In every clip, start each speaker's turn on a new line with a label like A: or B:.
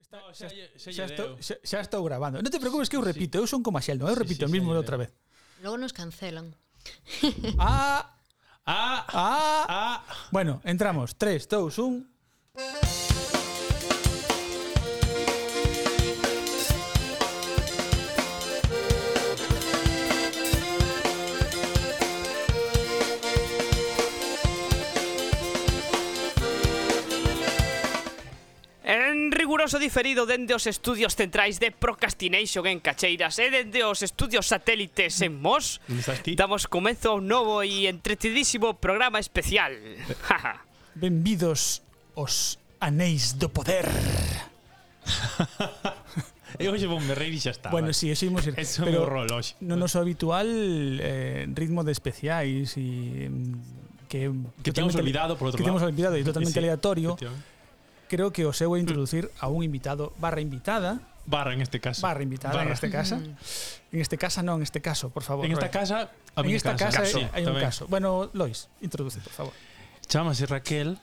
A: Está,
B: No, xa
A: xa, xa,
B: lle- xa
A: xa,
B: lle
A: estou,
B: deu.
A: xa, xa estou grabando. Non te preocupes que eu repito, eu son como a Sheldon, eu
B: oh. Sí,
A: repito
B: sí,
A: o
B: xa
A: mismo
B: lle deu.
A: outra vez.
C: Logo nos cancelan.
A: Ah,
B: Ah,
A: ah,
B: ah,
A: Bueno, entramos. 3, 2, 1.
D: En riguroso diferido dende os estudios centrais de Procrastination en Cacheiras e dende os estudios satélites en Mos,
B: Non estás ti?
D: damos comezo a un novo e entretidísimo programa especial. Ja, ja.
A: Benvidos os anéis do poder.
B: eu hoxe vou me reír e xa está.
A: bueno,
B: Ah, vale.
A: si, sí, imos ir.
B: Eso é
A: pero
B: un rol hoxe.
A: no noso habitual eh, ritmo de especiais e mm, que
B: Que temos
A: totalmente-
B: olvidado, por outro
A: que temos
B: lado.
A: olvidado e totalmente
B: Sí, Mm. sí,
A: aleatorio.
B: efectivamente.
A: Creo que o seu é introducir a un invitado barra invitada,
B: Barra en este caso.
A: barra invitada
B: Barra.
A: en este casa.
C: Mm.
A: En este casa non, en este caso, por favor.
B: En esta
A: Roy.
B: casa, a
A: en
B: miña
A: esta casa,
B: Sí,
A: hai un
B: tamén.
A: caso. Bueno, Lois, introduce, por favor.
B: Chámase Raquel,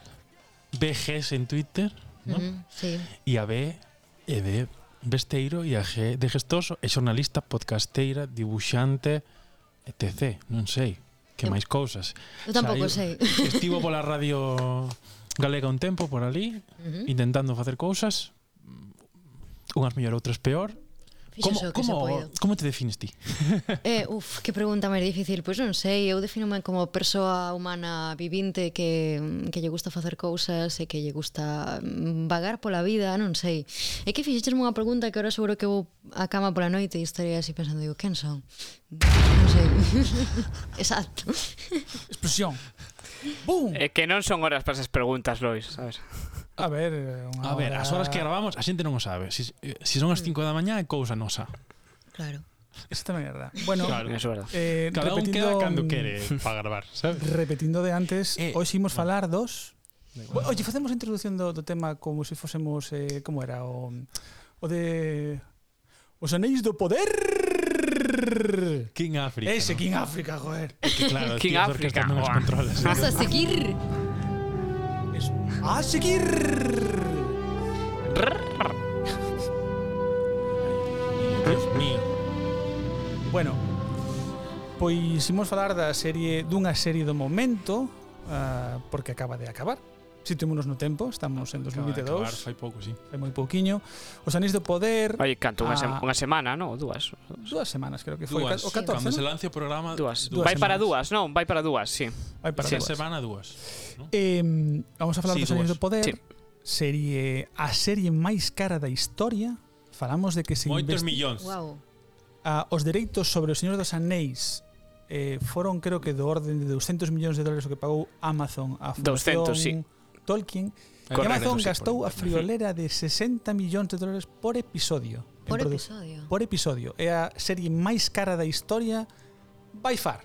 B: BGs en Twitter, ¿no?
C: Mm, sí.
B: e a B é de Besteiro e a G de Gestoso é xornalista, podcasteira, dibuxante, etc. Non sei que
C: Eu-
B: máis cousas.
C: Eu tampouco sei.
B: Estivo pola radio galega un tempo por ali,
C: Ujú.
B: intentando facer cousas, mm, unhas mellor, outras peor.
C: Fixo o que se poido.
B: como te defines ti?
C: Eh, uf, que pregunta máis difícil. Pois non sei, eu definome como persoa humana vivinte que, mm, que lle gusta facer cousas e que lle gusta mm, vagar pola vida, non sei. É que fixeches unha pregunta que agora seguro que vou á cama pola noite e estarei así pensando, digo, quen son? Non sei. Exacto.
A: Explosión. Bum.
B: Eh,
D: É Eh, que non son horas para esas preguntas, Lois, sabes?
A: A ver, eh, unha
B: A ver,
A: hora-
B: as horas que gravamos, a xente non o sabe. Si, eh, si son as 5 da mañá é cousa nosa.
C: Claro.
A: Eso tamén é verdad. Bueno,
B: Claro.
D: Eso é verdad.
A: eh,
B: Cada un
A: repetindo,
B: queda cando quere para gravar, sabes?
A: Repetindo de antes,
B: Eh,
A: eh, hoxe imos falar dos...
B: igual.
A: Oye, facemos a introducción do, do tema como se fósemos... Eh, como era? O, o de... Os anéis do poder...
B: King Africa.
A: Ese,
B: ¿no?
A: King África, joder.
B: Que claro,
D: King
B: tío, as orquestas
D: Africa,
B: non os
D: guau.
B: controlas.
C: Vas a seguir.
A: Eso. A seguir...
B: Dios mío.
A: Bueno, pois imos falar da serie dunha serie do momento uh, porque acaba de acabar. Situémonos no tempo, estamos en
B: Acaba de acabar
A: 2022,
B: Fai pouco, sí.
A: hai moi pouquiño. Os anéis do poder,
D: Oye, canto, unha, sem
A: Ah.
D: unha semana, non? Dúas.
A: dúas semanas creo que foi, dúas, o
B: Cando se
A: 14, non?
B: lance o programa,
D: Dúas.
A: Dúas
D: vai para
A: semanas.
D: dúas, non? Vai para dúas, sí.
A: Vai para
B: esa
A: dúas.
B: semana dúas.
A: Eh, vamos a falar
B: Sí,
A: dos anéis do
B: dúas.
A: poder.
D: Sí.
A: Serie a serie máis cara da historia. Falamos de que se
B: Moitos
A: investi-
B: millóns.
C: Wow.
A: a, Ah, os dereitos sobre o Señor dos Anéis eh, foron creo que do orden de 200 millóns de dólares o que pagou Amazon a Fundación
D: 200, sí.
A: Tolkien
B: Hai
A: e
B: que
A: Amazon
B: reconocer por
A: gastou a
B: internet.
A: friolera de 60 millóns de dólares por episodio En
C: Por
A: produ-
C: episodio.
A: por episodio é a serie máis cara da historia by far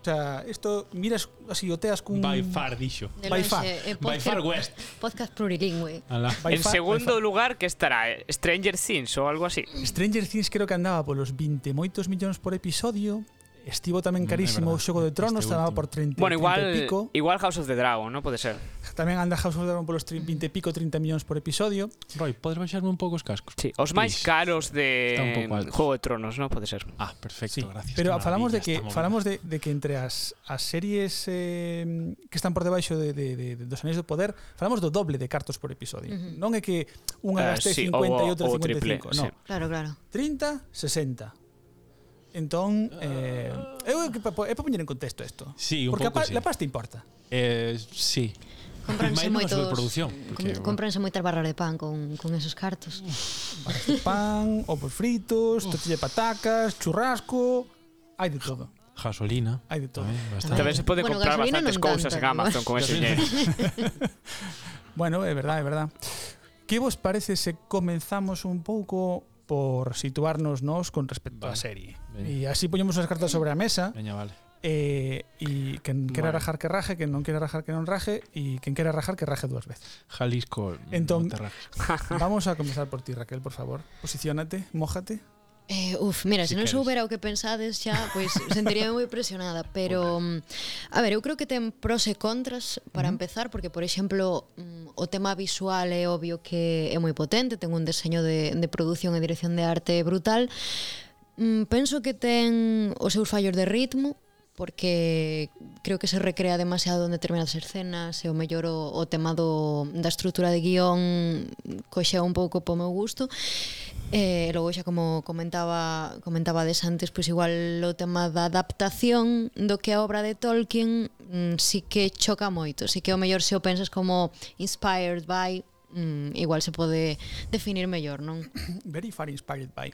A: o sea, isto miras así oteas cun
B: By far, dixo.
C: De
A: By far.
C: lonxe, eh,
B: By
C: podcast-
B: far west.
C: Podcast plurilingüe.
B: Alá.
A: by
D: en
A: far- by
D: segundo
A: far.
D: lugar, que estará? Eh, Stranger Things ou algo así.
A: Stranger Things creo que andaba polos 20 moitos millóns por episodio estivo tamén
B: Mm, é
A: carísimo o
B: verdad,
A: Xogo de Tronos
B: este
A: estaba
B: último.
A: por 30, 30
D: Bueno,
A: e
D: igual,
A: pico
D: igual House of the Dragon, non pode ser.
A: Tamén anda House of the Dragon polos tri- 20 e pico, 30 millóns por episodio.
B: Roy, podes baixarme un pouco os cascos?
D: Sí, os máis
B: Please.
D: caros de
B: Está un pouco alto.
D: Juego de Tronos, non pode ser.
B: Ah, perfecto, gracias.
A: Pero
B: que
A: falamos
B: maravilla,
A: de que
B: estamos
A: falamos de, de que entre as, as series eh, que están por debaixo de, de, de, de dos anéis do poder, falamos do doble de cartos por episodio. Uh -huh.
C: Ujú.
A: Non é que unha
B: Eh,
D: Ah,
A: gaste
D: sí,
A: 50 e
D: ou-
A: outra
D: ou
A: 55,
D: triple,
A: no.
D: sí.
C: Claro, claro.
A: 30, 60. Entón, eh, eu é que pa- é para poñer en contexto isto.
B: Sí, un
A: Porque
B: pouco
A: a, pa-
B: sí.
A: la pasta importa.
B: Eh, sí.
C: Compranse
B: Imagino
C: moitos...
B: superproducción, porque, Mm.
C: com- Compranse moitas barras de pan con, con esos cartos.
A: Pan, ovos fritos, tortilla de patacas, churrasco, hai de todo.
B: Gasolina.
A: Hai de todo.
B: Tamén, bastante.
D: Tamén se pode
C: Bueno,
D: comprar
C: gasolina
D: bastantes
C: non
D: cousas
C: tanta,
D: en Amazon con ese
B: Gasolina.
D: dinheiro.
A: Bueno, é verdade, é verdade. Que vos parece se comenzamos un pouco por situarnos nos con respecto á
B: Vale.
A: serie?
B: Veña.
A: E así poñemos as cartas sobre a mesa
B: Veña, vale.
A: e eh, quen quera
D: Vale.
A: rajar que raje, quen non quera rajar que non raje e quen quera rajar que raje dúas veces.
B: Jalisco,
A: Entón-
B: Monterrey.
A: Vamos a comenzar por ti, Raquel, por favor. Posiciónate, mójate.
C: Eh, uf, mira,
B: Si
C: se non
B: queres.
C: soubera o que pensades xa, pois sentiríame moi presionada, pero mm, a ver, eu creo que ten pros e contras para empezar, porque por exemplo, mm, o tema visual é obvio que é moi potente, ten un deseño de de produción e dirección de arte brutal. Mm, Penso que ten os seus fallos de ritmo, porque creo que se recrea demasiado en determinadas escenas e o mellor o, o tema do, da estrutura de guión coxea un pouco po meu gusto e logo xa como comentaba comentaba des antes, pois igual o tema da adaptación do que a obra de Tolkien mm, si que choca moito, si que o mellor se o pensas como inspired by mm, igual se pode definir mellor, non?
A: Very far inspired by.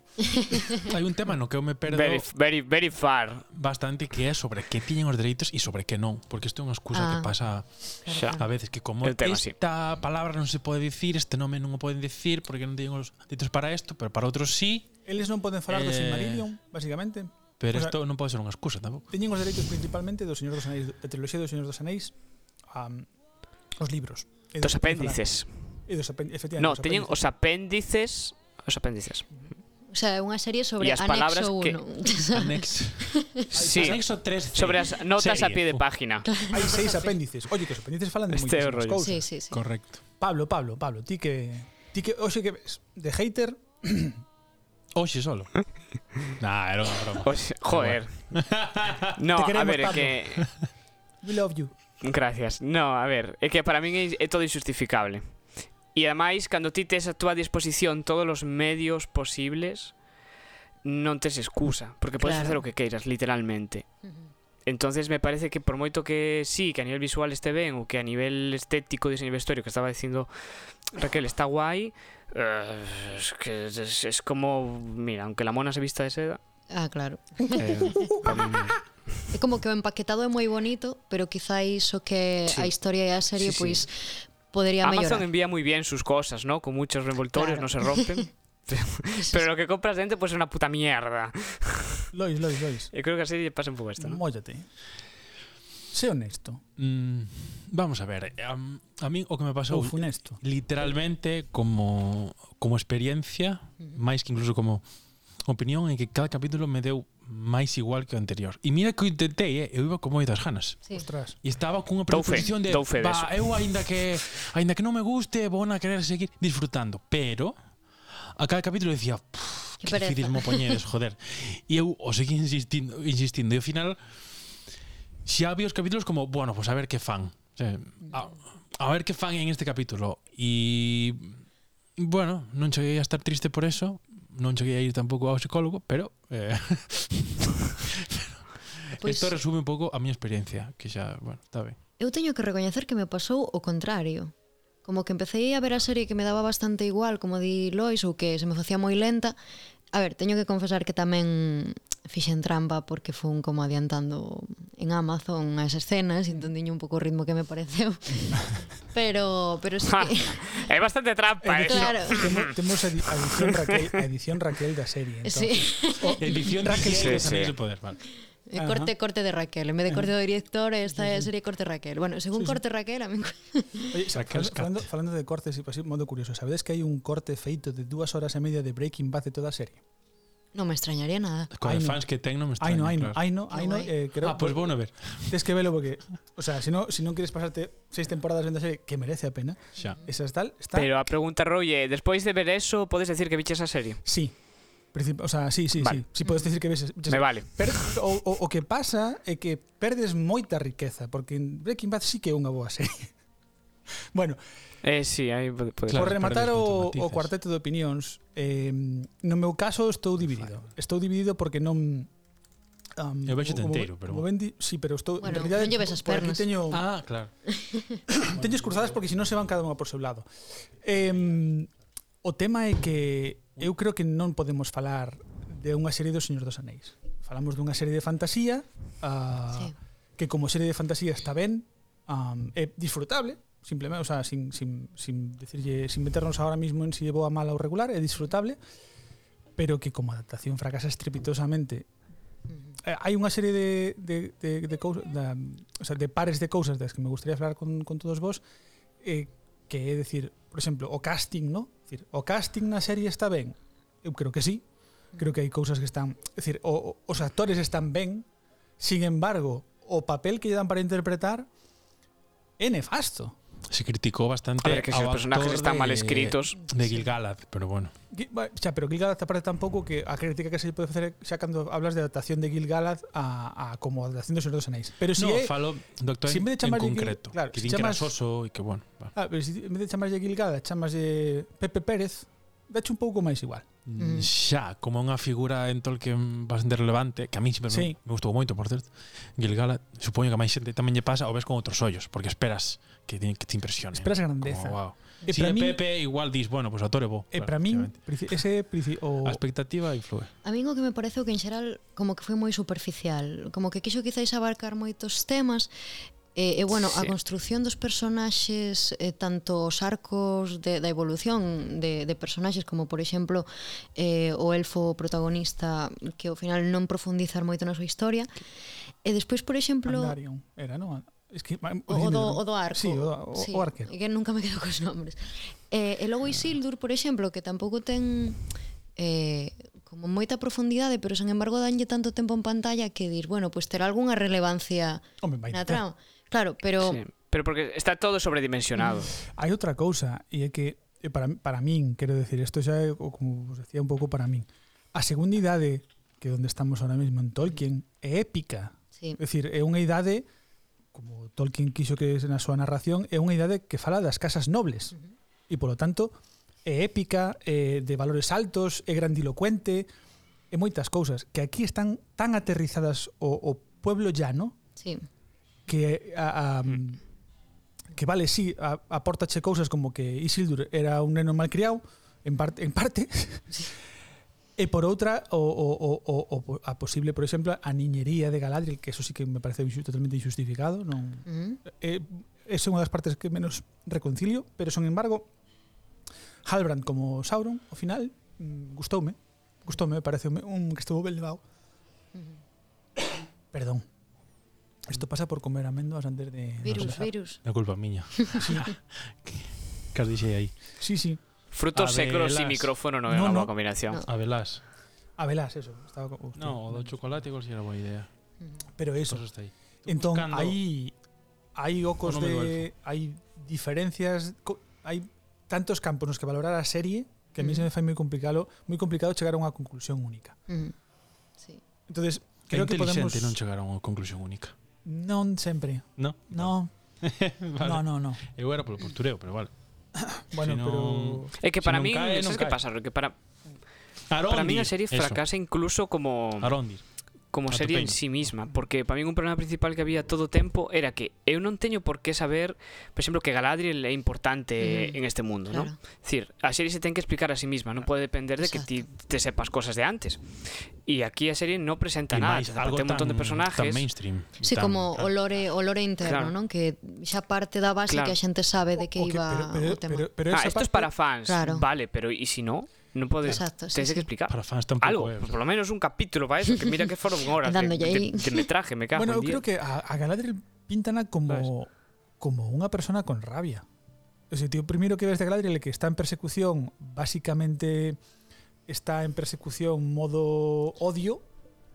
B: Hai un tema no que eu me perdo
D: Very, very, very far.
B: bastante que é sobre que tiñen os dereitos e sobre que non, porque isto é unha excusa
C: Ah.
B: que pasa
D: Xa.
B: a
A: Ah.
B: veces que como
D: El tema, sí.
B: esta palabra non se pode dicir, este nome non o poden dicir porque non teñen os dereitos para isto, pero para outros sí,
A: Eles non poden falar do
B: Eh,
A: Silmarillion, basicamente.
B: pero
A: O sea-
B: isto non pode ser unha excusa tampouco.
A: Teñen os dereitos principalmente do Señor dos Anéis, da triloxía do Señor dos Anéis, um, os libros. E do
D: Dos
A: que poden
D: apéndices.
A: falar. E dos apen- efectivamente,
D: No,
A: dos
D: teñen
A: apéndices.
D: os apéndices... Os apéndices.
C: O sea, é unha serie sobre
D: E as palabras
C: anexo 1.
D: que-
B: Anexo.
D: Sí.
B: Anexo 3.
D: Sobre as notas a
B: Serie.
D: pie de
B: Fu.
D: página.
A: Hai seis apéndices. Oye, que os apéndices falan de
D: Este é
A: moitísimas
D: o rollo.
A: cousas.
C: sí, sí, sí.
B: Correcto.
A: Pablo, Pablo, Pablo, ti que ti que hoxe que ves de hater,
B: Oxe solo. nah, era unha broma.
D: Oxe, joder.
A: Te
D: No, a
A: queremos,
D: ver, é
A: Pablo.
D: que...
A: we love you.
D: Gracias. No, a ver, é que para min é, é todo injustificable. E ademais, cando ti tes a túa disposición todos os medios posibles, non tes excusa, porque podes
C: Claro.
D: facer o que queiras, literalmente.
C: Ujú.
D: Entonces me parece que por moito que sí, que a nivel visual este ben ou que a nivel estético diseño e vestuario que estaba dicindo Raquel está guai, eh, es que es, es como, mira, aunque la mona se vista de seda,
C: Ah, claro.
D: eh, a min-
C: É como que o empaquetado é moi bonito, pero quizáis o que
D: Sí.
C: a historia e a
B: Sí,
C: serie
B: sí.
C: pois podería mellorar.
D: Amazon envía muy bien sus cosas, ¿no? Con muchos reenvoltorios,
C: Claro.
D: no se rompen. Pero lo que compras dentro pues es una puta mierda.
A: Lois, Lois, Lois.
D: Yo creo que así le pasa un poco esto, ¿no?
A: Móllate. Sé honesto
B: Mm, vamos a ver. am- a mí o que me pasou
A: ou funesto.
B: literalmente como como experiencia, máis que incluso como opinión en que cada capítulo me deu máis igual que o anterior. E mira que o intentei, eh, eu iba con moitas ganas.
C: Sí.
A: Ostras.
B: E estaba cunha
D: Dou fe,
B: predisposición de,
D: dou fe
B: "Va,
D: deso."
B: eu aínda que aínda que non me guste, vou a querer seguir disfrutando, pero a cada capítulo decía, "Puf,
C: Que
B: que
C: pereza."
B: difícil mo poñedes, joder. E eu o seguí insistindo, insistindo e ao final xa vi os capítulos como, bueno, pois pues a ver que fan. O sea, a, a ver que fan en este capítulo. E bueno, non cheguei a estar triste por eso, non cheguei a ir tampouco ao psicólogo, pero eh,
C: Pois-
B: Esto resume un pouco a miña experiencia, que xa, bueno, está ben.
C: Eu teño que recoñecer que me pasou o contrario. Como que empecé a ver a serie que me daba bastante igual, como di Lois, ou que se me facía moi lenta. A ver, teño que confesar que tamén fixen trampa porque fun como adiantando en Amazon as escenas, entón tiño un pouco o ritmo que me pareceu. pero, pero sí que...
D: es bastante trampa eso.
C: Claro.
A: Temo- Temos edi- a edición Raquel, a edición Raquel da serie, entón.
C: Sí,
D: Oh,
B: Edición Raquel sí,
D: Sí, sí.
B: sí. poder, vale.
C: Eh, corte, corte de Raquel. En vez de corte do director, esta sería corte Raquel. Bueno, según corte Raquel, a mí...
A: Oye, sa-
B: Raquel
A: fal- falando, falando de cortes, e así, modo curioso, sabedes que hai un corte feito de dúas horas e media de Breaking Bad de toda a serie?
C: non me extrañaría nada.
B: Con
A: Ai,
B: os
A: no.
B: fans que ten non me extraña.
A: Ai no, ai no,
B: claro.
A: ai no, ai no,
C: Qué guai.
A: eh, creo
D: pues
B: Ah, pois vou a ver,
A: tens que velo porque, o sea, se non, se non queres pasarte seis temporadas vendo a serie, que merece a pena,
B: xa.
A: esas tal, está...
D: Pero a pregunta Roye, después de ver eso, ¿puedes decir que viste esa serie?
A: Sí. Princip- O sea, sí, sí,
D: Vale.
A: sí. Si podes decir que ves...
D: Me vale.
A: Per, o, o, o que pasa é que perdes moita riqueza, porque en Breaking Bad sí que é unha boa serie. Bueno,
D: Eh, sí, ahí puede puede
B: Claro,
A: por rematar
B: perdes
A: o,
B: moitos
A: o
B: matices.
A: cuarteto de opinións, eh, no meu caso estou dividido. Estou dividido porque non... Um,
B: Eu vexo tenteiro, pero
A: Como
B: bueno.
A: ben di, sí, pero estou...
C: Bueno,
A: en realidade,
C: non lleves as
A: por aquí
C: pernas.
A: Teño,
B: Ah, claro.
A: Teñes cruzadas porque senón se van cada unha por seu lado. Eh, o tema é que eu creo que non podemos falar de unha serie do Señor dos Anéis. Falamos dunha serie de fantasía uh, sí.
C: Sí.
A: que como serie de fantasía está ben, um, é disfrutable, simplemente, o sea, sin, sin, sin decirlle, sin meternos ahora mismo en si é boa, mala ou regular, é disfrutable, pero que como adaptación fracasa estrepitosamente eh, hai unha serie de de de de cousas, da, o sea, de pares de cousas das que me gustaría falar con con todos vos eh que é decir, por exemplo, o casting, ¿no? Decir, o casting na serie está ben. Eu creo que sí. Creo que hai cousas que están, é dicir, o, o- os actores están ben, sin embargo, o papel que lle dan para interpretar é nefasto.
B: Se criticó bastante.
D: A ver, que si
B: ao
D: los personajes
B: actor
D: están mal
B: de-
D: escritos.
B: De Gilgalad, pero bueno.
A: Gui- ba- Xa, pero Gil Galad aparte tampouco que a crítica que se pode facer é xa cando hablas de adaptación de Gil Galad a, a como adaptación do Señor dos Anéis. Pero Pues si
B: no,
A: é,
B: falo do actor
A: si
B: en,
A: en vez de chamarlle Gil-
B: concreto.
A: claro,
B: que
A: si
B: din que era
A: chamas-
B: soso e que bueno. va.
A: ah, pero si en vez de chamarlle Gil Galad, chamaslle Pepe Pérez, dache un pouco máis igual.
C: Mm.
B: Xa, como unha figura en Tolkien bastante relevante, que a mí sempre
A: Sí.
B: me, me gustou moito, por certo. Gilgalad, supoño que a máis xente tamén lle pasa, o ves con outros ollos, porque esperas que te, que te impresione.
A: Esperas grandeza.
B: Como, wow.
A: E
B: Si é
A: para min-
B: Pepe, igual dis, bueno, pois pues, atore bo.
A: E para Oh. min,
B: efectivamente.
A: princi- ese princi-
B: A
A: o
B: expectativa influe.
C: A min o que me pareceu que en xeral como que foi moi superficial, como que quixo quizáis abarcar moitos temas E, e bueno, sí. a
D: Sí.
C: construción dos personaxes eh, tanto os arcos de, da evolución de, de personaxes como por exemplo eh, o elfo protagonista que ao final non profundizar moito na súa historia e despois por exemplo
A: Andarion era, non? Es que ma-
C: O, o, do,
A: Isildur.
C: o do arco.
A: Sí, o, do- o,
C: Sí,
A: o arquero.
C: Que nunca me quedo cos nombres. Eh, e logo Isildur, por exemplo, que tampouco ten eh, como moita profundidade, pero sen embargo danlle tanto tempo en pantalla que dir, bueno, pois pues terá algunha relevancia
A: Home, vai
C: na
A: ter.
C: trama. Claro, pero
D: Sí, Pero porque está todo sobredimensionado.
A: Hai outra cousa e é que e para para min, quero decir, isto xa é o como vos decía un pouco para min. A segunda idade que é onde estamos ahora mesmo en Tolkien é épica.
C: sí,
A: É dicir, é unha idade como Tolkien quixo que na súa narración é unha idade que fala das casas nobles e polo tanto é épica, é de valores altos, é grandilocuente, é moitas cousas que aquí están tan aterrizadas o, o pueblo llano
C: sí,
A: que a, a, que vale, sí, a, aportache cousas como que Isildur era un neno malcriado en parte en parte. E por outra, o, o, o, o, o a posible, por exemplo, a niñería de Galadriel, que eso sí que me parece inxu- totalmente injustificado, non
C: mm,
A: eh, é unha das partes que menos reconcilio, pero son embargo Halbrand como Sauron, ao final, mm, gustoume, gustoume, parece un que estuvo ben levado. Perdón. Isto pasa por comer amendoas antes de
C: virus,
A: empezar.
C: virus.
B: É culpa miña. que as dixei aí.
A: Sí, sí.
D: Frutos secos
B: Abelas.
D: y micrófono no,
A: No,
D: es una
A: no.
D: buena combinación.
C: No.
B: A velás.
A: A velás, Ah, eso, estaba co- hostia.
B: No, o do chocolate igual si era boa idea.
A: pero eso.
B: Eso está aí.
A: Entón,
B: buscando-
A: hai hai ocos
B: o nome do
A: de hai diferencias, co- hai tantos campos nos que valorar a serie que a mí
C: Mm.
A: se me fai moi complicado, moi complicado chegar a unha conclusión única.
C: Mm, sí.
A: Entonces,
B: Creo
A: creo que podemos
B: inteligente non chegar a unha conclusión única.
A: Non sempre.
B: No?
A: No,
B: vale.
A: no, no, no.
B: Eu era polo postureo, pero vale.
A: Bueno,
B: Si non-
A: pero
D: Es que
B: Si
D: para
B: non
D: mí,
B: cae, non
D: ¿sabes qué
B: cae.
D: pasa? Que para,
B: Arondir.
D: para mí la serie
B: eso.
D: fracasa incluso como,
B: Arondir.
D: como
B: a tu
D: serie en
B: peña.
D: sí misma, porque para mí un problema principal que había todo tempo era que eu non teño por que saber, por exemplo, que Galadriel é importante
C: Mm,
D: en este mundo, ¿no?
C: Claro.
D: decir, a serie se ten que explicar a sí misma, non pode depender de que ti te sepas cosas de antes. Y aquí a serie no presenta
B: E
D: nada,
B: máis,
D: te
B: algo
D: plantea un montón de
B: tan-
D: personajes.
B: Tan mainstream.
C: Sí,
B: tan-
C: como
B: claro.
C: o lore, o lore interno,
D: Claro.
C: non? Que xa parte da base
D: Claro.
C: que a xente sabe de que
A: o que-
C: iba
A: pero, pero,
C: o tema.
A: pero, pero
D: ah,
A: esa
D: esto es
A: parte-
D: para fans,
C: Claro.
D: vale, pero ¿y si no? No puedes,
C: Exacto, sí,
D: tienes
C: sí.
D: que explicar.
B: Para fans tampouco
D: Algo,
B: é. o sea.
D: por lo menos un capítulo para eso, que mira que fueron horas de,
C: Dándolle ahí.
D: de, de metraje, me cago
A: Bueno,
D: en
A: eu
D: diez.
A: creo que a, a Galadriel píntana como como unha persona con rabia. O sea, tío, o primeiro que ves de Galadriel é que está en persecución, basicamente está en persecución modo odio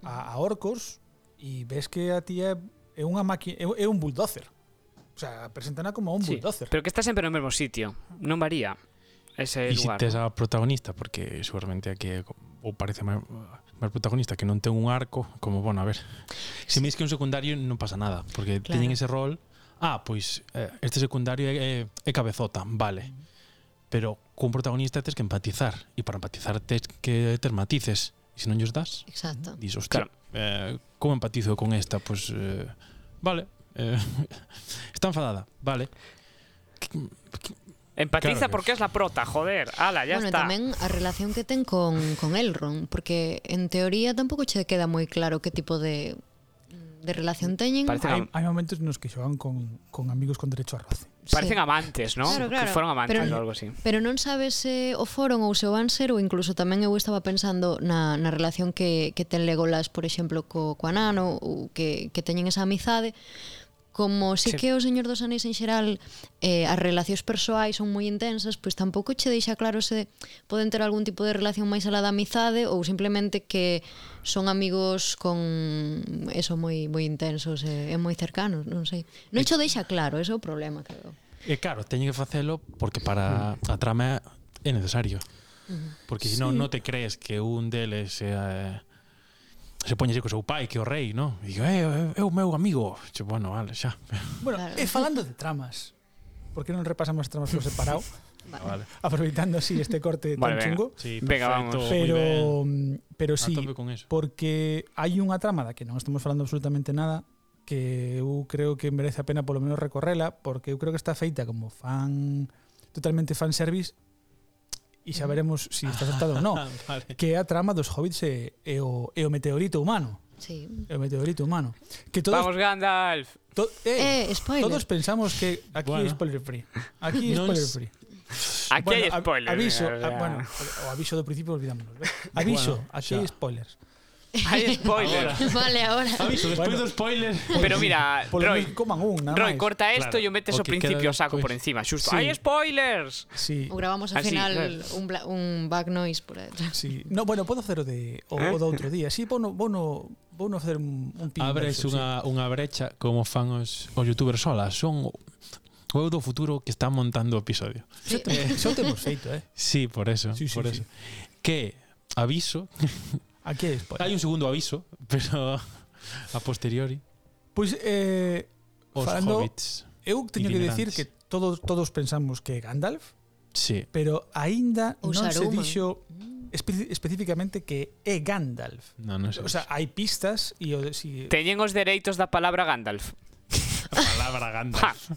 A: a, a orcos e ves que a tía é unha máquina, é, é un bulldozer. O sea, presentana como un
D: Sí,
A: bulldozer.
D: Pero que está siempre en el mismo sitio, no varía ese
B: E si
D: lugar.
B: tes a protagonista, porque seguramente aquí é co- ou parece máis máis protagonista que non ten un arco, como, bueno, a ver, se me dis que é un secundario non pasa nada, porque claro.
C: Claro.
B: teñen ese rol, ah, pois eh, este secundario é, é, é cabezota, vale, pero cun protagonista tens que empatizar, e para empatizar tens que ter matices, e se non lles das,
C: Exacto.
B: dis, hostia,
D: Claro.
B: eh, como empatizo con esta? Pois, eh, vale, eh, está enfadada, vale. Que- que- Claro
D: Empatiza
B: que
D: porque
B: es.
D: es la prota, joder. Ala, ya
C: bueno, e
D: está.
C: tamén a relación que ten con, con Elrond, porque en teoría tampouco che queda moi claro que tipo de, de relación teñen.
D: Parece que
A: Hai, hai momentos nos que xogan con, con amigos con derecho a roce.
C: Sí.
D: Parecen amantes, ¿no?
C: Claro, claro.
D: Que fueron amantes
C: Pero-
D: o algo así.
C: Pero non sabe se o foron ou se o van ser ou incluso tamén eu estaba pensando na, na relación que, que ten Legolas, por exemplo, co, co Anano ou que, que teñen esa amizade como sí,
D: Sí.
C: que o Señor dos Anéis en xeral eh, as relacións persoais son moi intensas, pois tampouco che deixa claro se poden ter algún tipo de relación máis alá da amizade ou simplemente que son amigos con eso moi moi intensos e, e moi cercanos, non sei. Non che o deixa claro, ese é o problema, creo.
B: E eh, claro, teñen que facelo porque para a trama é necesario. Porque se non,
A: Sí.
B: non te crees que un deles sea, se poñese co seu pai, que é o rei, non? E digo, eh, é o meu amigo. Che, bueno, vale, xa.
A: Bueno,
C: Claro.
A: e falando de tramas, por que non repasamos tramas por separado?
B: Vale.
A: aproveitando así este corte tan
D: Vale, venga.
A: chungo.
B: Sí,
D: Venga,
B: perfecto,
D: vamos.
B: moi ben. A
A: Pero, pero
D: Ah,
A: sí,
B: tope con eso.
A: porque hai unha trama da que non estamos falando absolutamente nada que eu creo que merece a pena polo menos recorrela porque eu creo que está feita como fan totalmente fan service e
D: Mm.
A: xa veremos se si está acertado ou non
B: Ah, vale.
A: que é a trama dos hobbits e, e, o, e o meteorito humano
C: Sí.
A: e o meteorito humano que todos
D: Vamos, Gandalf.
A: to, eh,
C: Eh, spoiler.
A: todos pensamos que aquí
B: Bueno.
A: é spoiler free aquí é
B: Non
A: spoiler
B: es-
A: free
D: Aquí
A: Bueno,
D: hay
A: a-
D: spoilers.
A: Aviso,
D: o sea,
A: a- bueno, o aviso do principio olvidámonos. ¿ve? Aviso,
B: Bueno,
A: aquí
B: xa.
A: hay spoilers.
D: Hay spoilers.
C: vale, ahora.
B: Aviso, despois
A: Bueno.
B: do spoiler.
D: Pero mira,
A: Por lo menos
D: Roy,
A: coman un, nada máis.
D: Roy, corta esto
B: Claro,
D: y yo metes
B: o
D: o
B: que queda
D: principio saco por
B: despois.
D: encima.
A: Sí.
D: Justo. ¡Hay spoilers!
A: Sí,
C: O grabamos al
D: Así,
C: final
D: Ah, claro.
C: un, bla, un back noise por aí.
A: sí. No, bueno, podo hacer o de o,
D: ¿Eh?
A: o do outro día. Sí, bono, bono, bono hacer un, un pin
B: Abres
A: verso,
B: unha, unha brecha como fan os, os youtubers solas. Son o o eu do futuro que está montando o episodio.
A: Sí. Xa temos, xa o temos feito, eh.
B: Sí, por eso.
A: Sí, sí,
B: por
A: sí.
B: eso. Que aviso,
A: Aquí hay spoilers.
B: hai un segundo aviso, pero a posteriori
A: Pois eh
B: os
A: Falando-
B: hobbits.
A: eu teño que
B: Itinerantes.
A: decir que todos todos pensamos que é Gandalf,
B: Sí.
A: pero aínda
C: Ou
A: non se
C: Saruman.
A: dixo espe- especificamente que é Gandalf.
B: No, non sei.
A: O sea, hai pistas e o de- si
D: Teñen os dereitos da palabra Gandalf.
B: a palabra Gandalf.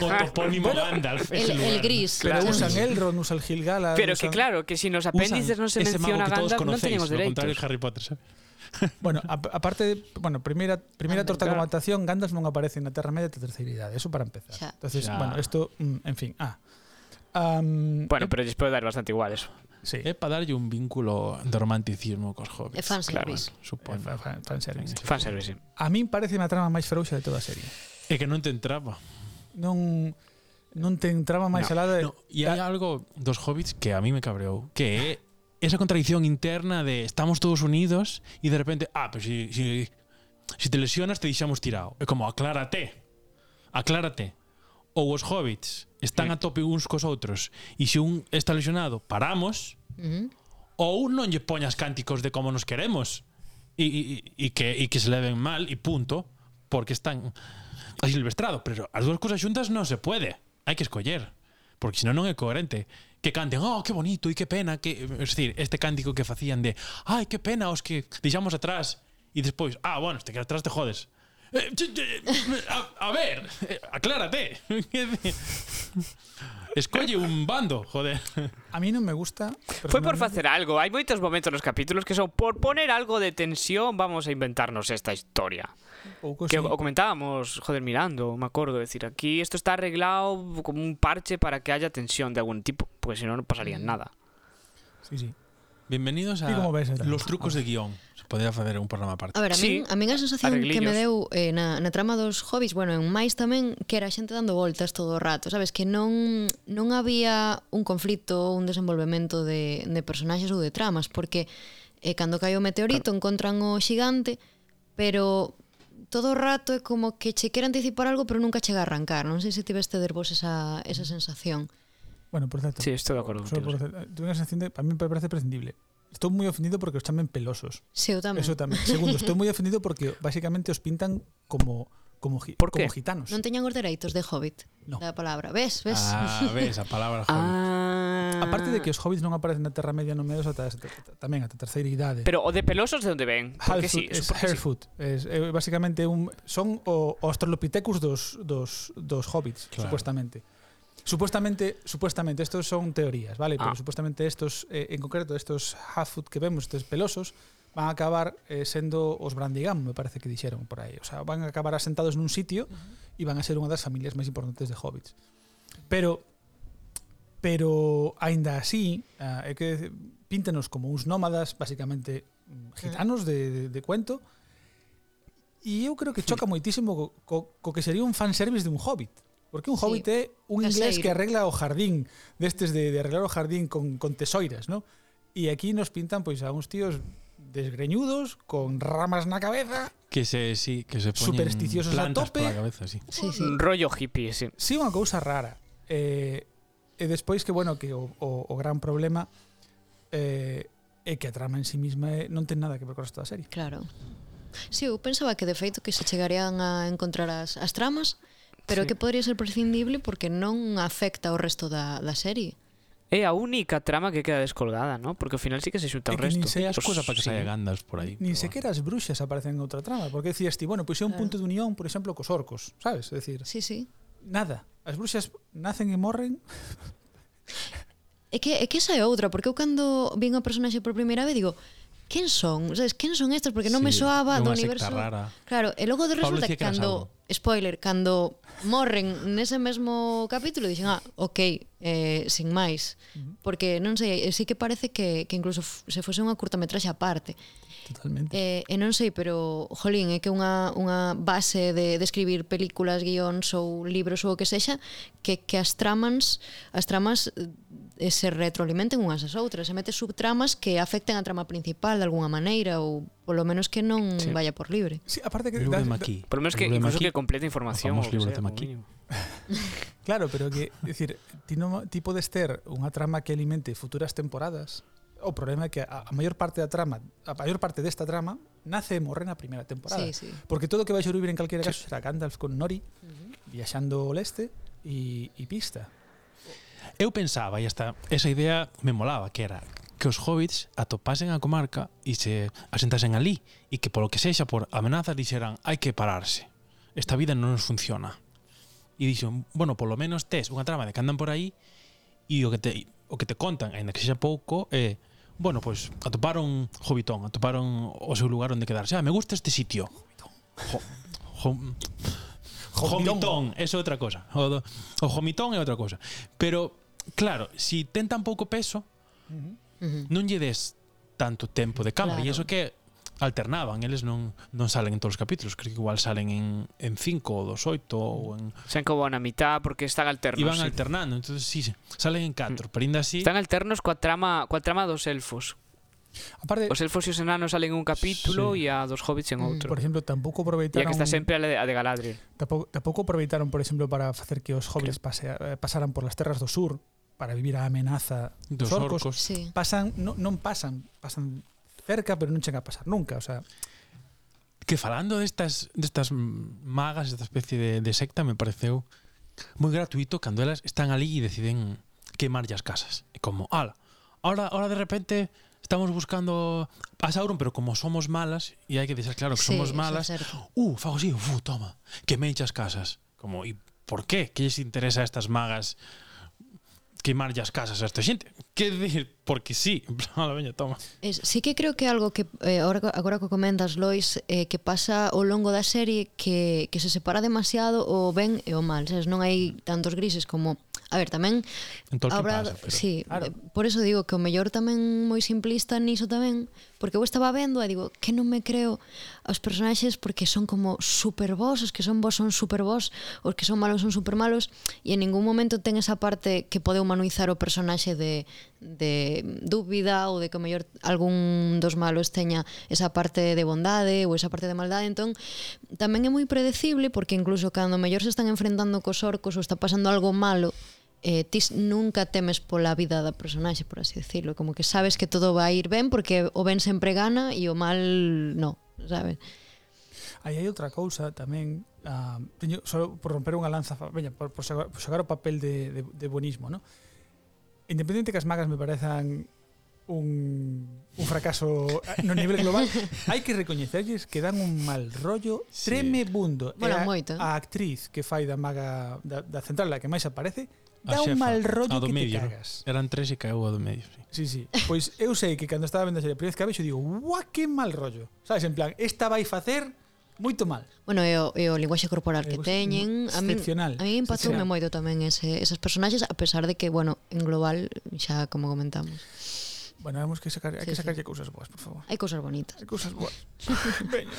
B: o topónimo Gandalf.
C: el,
B: ese
C: el
B: lugar.
C: gris.
A: Pero
D: Claro.
A: usan Elrond, usan Gilgalad,
D: Pero que
A: usan-
D: claro, que si nos
B: Usan
D: apéndices non se
B: ese mago
D: menciona
B: que todos
D: Gandalf, non
B: conocéis,
D: teñemos
B: lo contrario
D: dereitos.
B: de Harry Potter, ¿sabes?
A: Bueno, a- aparte, de- bueno, primeira primeira
C: Gandalf,
A: torta como
D: claro.
A: adaptación, Gandalf non aparece na Terra Media da terceira idade, eso para empezar.
C: Xa.
A: Entonces,
B: Xa.
A: bueno, esto, mm, en fin, ah. Am, eh,
D: Bueno, eh, pero lles podo dar bastante igual eso.
A: sí,
B: É para darlle un vínculo de romanticismo cos hobbits.
C: É fanservice.
B: Bueno,
A: eh,
B: supoño.
A: fa- fa- fanservice.
D: Fanservice. sí.
A: A min parece a trama máis frouxa de toda a serie.
B: É que non te entraba.
A: Non non ten trama máis
D: No,
A: alada de...
B: No, e hai algo dos hobbits que a mí me cabreou, que é esa contradicción interna de estamos todos unidos e de repente, ah, pero si, si, si te lesionas te deixamos tirado. É como, aclárate, aclárate. Ou os hobbits están a tope uns cos outros e se un está lesionado, paramos,
C: Ujú.
B: ou non lle poñas cánticos de como nos queremos e, e, e, que, e que se leven mal e punto, porque están asilvestrados, pero as dúas cousas xuntas non se pode, hai que escoller porque senón non é coherente que canten, oh, que bonito e que pena que, es decir, este cántico que facían de ai, que pena os que deixamos atrás e despois, ah, bueno, este que atrás te jodes Eh, che, che, a, a ver, eh, aclárate escolle un bando, joder
A: A mí non me gusta...
D: Foi por
A: personalmente.
D: facer algo. Hai moitos momentos nos capítulos que son por poner algo de tensión, vamos a inventarnos esta historia.
A: Pouco,
D: Que
A: Pues sí.
D: o comentábamos, joder, mirando, me acuerdo, decir, aquí esto está arreglado como un parche para que haya tensión de algún tipo, porque si no, no pasaría nada.
A: Sí, sí.
B: Bienvenidos a
A: Ti como ves, Adrián?
B: Los trucos de guión. Se podría facer un programa aparte.
C: A ver, a
D: Sí,
C: min, a min a sensación que me deu
D: arreglillos.
C: eh, na, na trama dos hobbies, bueno, en máis tamén que era xente dando voltas todo o rato, sabes? Que non non había un conflito, un desenvolvemento de, de personaxes ou de tramas, porque eh, cando cae o meteorito encontran o xigante, pero todo o rato é como que che quere anticipar algo pero nunca chega a arrancar. Non sei se tiveste der vos esa, esa sensación.
A: Bueno, por certo.
D: Sí, estoy de acuerdo
A: solo por
D: contigo.
A: certo, Tuve unha sensación de... A mí me parece prescindible. Estou moi ofendido porque os chamen pelosos.
C: Sí, eu tamén.
A: Eso tamén. Segundo, estou moi ofendido porque basicamente os pintan como como gi-
D: Por
A: como
D: qué?
A: gitanos.
C: Non teñan os dereitos de hobbit
A: No.
C: da palabra. Ves, ves?
B: Ah, ves, a palabra joven.
D: Ah.
A: Aparte de que os hobbits non aparecen na Terra Media non medos ata ata- ata- tamén ata a terceira idade.
D: Pero o de pelosos de onde ven? Porque sí,
A: Halfut es
D: supongo que sí.
A: Hairfoot. Es, eh, basicamente un, son o, o Australopithecus dos, dos, dos hobbits,
B: Claro.
A: supuestamente. Supuestamente, supuestamente, estos son teorías, ¿vale? Pero
D: Ah.
A: supuestamente estos, eh, en concreto, estos Halfut que vemos, estes pelosos, van a acabar eh, sendo os Brandigam, me parece que dixeron por aí. O sea, van a acabar asentados nun sitio e van a ser unha das familias máis importantes de hobbits. Pero pero aínda así, ah, é que píntanos como uns nómadas, basicamente mm, gitanos de, de, de cuento, E eu creo que choca moitísimo co, co, co que sería un fanservice dun hobbit. Porque un
C: Sí.
A: hobbit é un inglés
C: Caseiro.
A: que arregla o jardín, destes de, de arreglar o jardín con, con tesoiras, ¿no? E aquí nos pintan pois a uns tíos desgreñudos, con ramas na cabeza,
B: Que se, sí, que se poñen
A: Supersticiosos a
B: plantas
A: tope.
B: pola cabeza, sí.
C: Sí, sí.
D: Mm, Rollo hippie, sí.
A: sí unha cousa rara. Eh, e despois que, bueno, que o, o, o gran problema eh, é que a trama en sí misma eh, non ten nada que ver con esta serie.
C: Claro. Sí, eu pensaba que de feito que se chegarían a encontrar as, as tramas, pero sí.
D: Sí.
C: que podría ser prescindible porque non afecta o resto da, da serie.
D: É Eh, a única trama que queda descolgada, ¿no? Porque ao final sí que se
A: É
D: xuta o
A: que nin
D: resto.
B: Hay
A: sei
B: as
D: Pues
B: cosas para que se
D: sí.
B: haya gandas por ahí.
A: Nin
B: pero
A: sequera as bruxas aparecen en outra trama, porque decías ti, bueno, pois é un
C: Claro.
A: punto de unión, por exemplo, cos orcos, sabes? É dicir,
C: Sí, sí.
A: nada. As bruxas nacen e morren.
C: É que, é que esa é outra, porque eu cando vin o personaxe por primeira vez digo, quen son? Sabes, quen son estes? Porque non me
B: Sí,
C: soaba do
B: dunha secta
C: universo.
B: rara.
C: Claro, e logo de
B: Pablo
C: resulta
B: dicía
C: que
B: que era
C: cando spoiler, cando morren nese mesmo capítulo dixen, ah, ok, eh, sin máis porque non sei, eh, sí que parece que, que incluso f- se fose unha curtametraxe aparte
A: Totalmente.
C: Eh, e non sei, pero jolín, é que unha, unha base de, de escribir películas, guións ou libros ou o que sexa, que, que as tramas as tramas eh, se retroalimenten unhas ás outras, se mete subtramas que afecten a trama principal de alguna maneira ou polo menos que non sí.
D: Sí.
C: vaya por libre.
A: Sí, aparte que
B: El de
A: da- da-
B: Maquis.
D: Por lo menos que
B: El de
D: incluso
B: Maquis.
D: que completa información.
B: famoso
D: o que
B: libro de
D: sea, como
B: Maquis.
D: mínimo.
A: claro, pero que, é dicir, ti non ti podes ter unha trama que alimente futuras temporadas. O problema é que a, a maior parte da trama, a maior parte desta trama nace e morre na primeira temporada.
C: Sí, sí.
A: Porque todo o que vai sobrevivir en calquera caso será Gandalf con Nori viaxando ao leste e, e pista.
B: Eu pensaba, e hasta esa idea me molaba, que era que os hobbits atopasen a comarca e se asentasen ali e que polo que sexa por amenazas dixeran hai que pararse, esta vida non nos funciona. E dixen, bueno, polo menos tes unha trama de que andan por aí e o que te, o que te contan, aínda que sexa pouco, é Bueno, pois pues, atoparon Hobitón, atoparon o seu lugar onde quedarse. Ah, me gusta este sitio. Jo, jo, Jomitón, eso é outra cosa. O, do- o jomitón é outra cosa. Pero, claro, si ten tan pouco peso,
C: Ujú.
B: non lle des tanto tempo de cámara. E
C: Claro.
B: iso que alternaban, eles non, non salen en todos os capítulos, creo que igual salen en, en cinco ou dos oito ou en...
D: Se han acabado a mitad porque están alternos.
B: Iban
D: sí.
B: alternando, entonces sí, salen en
C: Mm.
B: catro, pero ainda así...
D: Están alternos coa trama, coa trama dos elfos.
A: Aparte,
D: Os elfos e os enanos salen en un capítulo
B: Eh, Sí.
D: e a dos hobbits en
C: Mm.
D: outro.
A: por exemplo, tampouco
D: E a
A: aproveitaron
D: que está sempre a de, a de Galadriel.
A: Tampouco, tampouco aproveitaron, por exemplo, para facer que os hobbits pasea, eh, pasaran por las terras do sur para vivir a amenaza
B: Dos orcos.
C: Sí.
A: Pasan, no, non pasan, pasan cerca, pero non chega a pasar nunca, o sea,
B: Que falando destas, destas magas, esta especie de, de secta, me pareceu moi gratuito cando elas están ali e deciden quemarlle as casas. E como, ala, ahora, ahora de repente estamos buscando a Sauron, pero como somos malas, e hai que deixar claro que
C: Sí,
B: somos
C: eso é
B: malas,
C: certo.
B: uh, fago así, uh, toma, quemeiche as casas. Como, e por qué? Que lles interesa a estas magas quemarlle as casas a esta xente? Que decir, porque sí, en plan, "Ala, veña, toma.
C: Es, sí que creo que algo que eh, ahora, co- agora que comentas, Lois, eh, que pasa ao longo da serie que, que se separa demasiado o ben e o mal, sabes? Non hai tantos grises como... A ver, tamén...
B: En Tolkien
C: a
B: pasa, pero-
C: sí,
A: Claro.
C: claro. por eso digo que o mellor tamén moi simplista niso tamén, porque eu estaba vendo e digo que non me creo aos personaxes porque son como super vos, os que son vos son super vos, os que son malos son super malos e en ningún momento ten esa parte que pode humanizar o personaxe de, de dúbida ou de que o mellor algún dos malos teña esa parte de bondade ou esa parte de maldade, entón tamén é moi predecible porque incluso cando o mellor se están enfrentando cos orcos ou está pasando algo malo eh, tis nunca temes pola vida da personaxe, por así decirlo, como que sabes que todo vai ir ben porque o ben sempre gana e o mal no, sabes?
A: aí hai outra cousa tamén, ah, teño só por romper unha lanza, fa- veña, por, por, xogar, por xogar o papel de, de, de buenismo, ¿no? Independente que as magas me parezan un, un fracaso no nivel global, hai que recoñecerlles que dan un mal rollo
B: Sí.
A: tremebundo. E
C: Mola
A: a-
C: moito.
A: A actriz que fai da maga da, da central, a que máis aparece,
B: A
A: dá
B: xefa,
A: un
B: a
A: mal rollo
B: do
A: que
B: medio, ¿no?
A: medio, te cagas.
B: Eran tres e caeu a do medio, sí.
A: Sí, sí. Pois eu sei que cando estaba vendo a serie a primeira vez que a vexo digo, "Ua, que mal rollo." Sabes, en plan, esta vai facer moito mal.
C: Bueno, e o, e o linguaxe corporal que
A: Eh,
C: teñen a min,
A: excepcional,
C: a min impactoume
A: excepcional.
C: moito tamén ese, esas personaxes a pesar de que, bueno, en global xa como comentamos
A: Bueno, vemos que sacar, hai que
C: Sí, sí.
A: sacarlle cousas boas, por favor.
C: hai cousas bonitas
A: Hai cousas boas. Veña.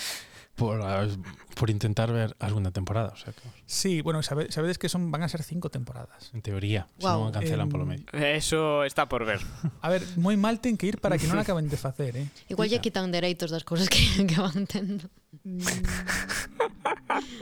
B: por, as- por intentar ver a segunda temporada. O sea, que,
A: Sí, bueno, sabe- sabedes que son, van a ser cinco temporadas.
B: en teoría, si
C: Guau.
B: non a cancelan polo
A: Em,
B: medio.
D: Eso está por ver.
A: A ver, moi mal ten que ir para que non acaben de facer, eh?
C: Igual lle quitan dereitos das cousas que, que van tendo.
A: Mm.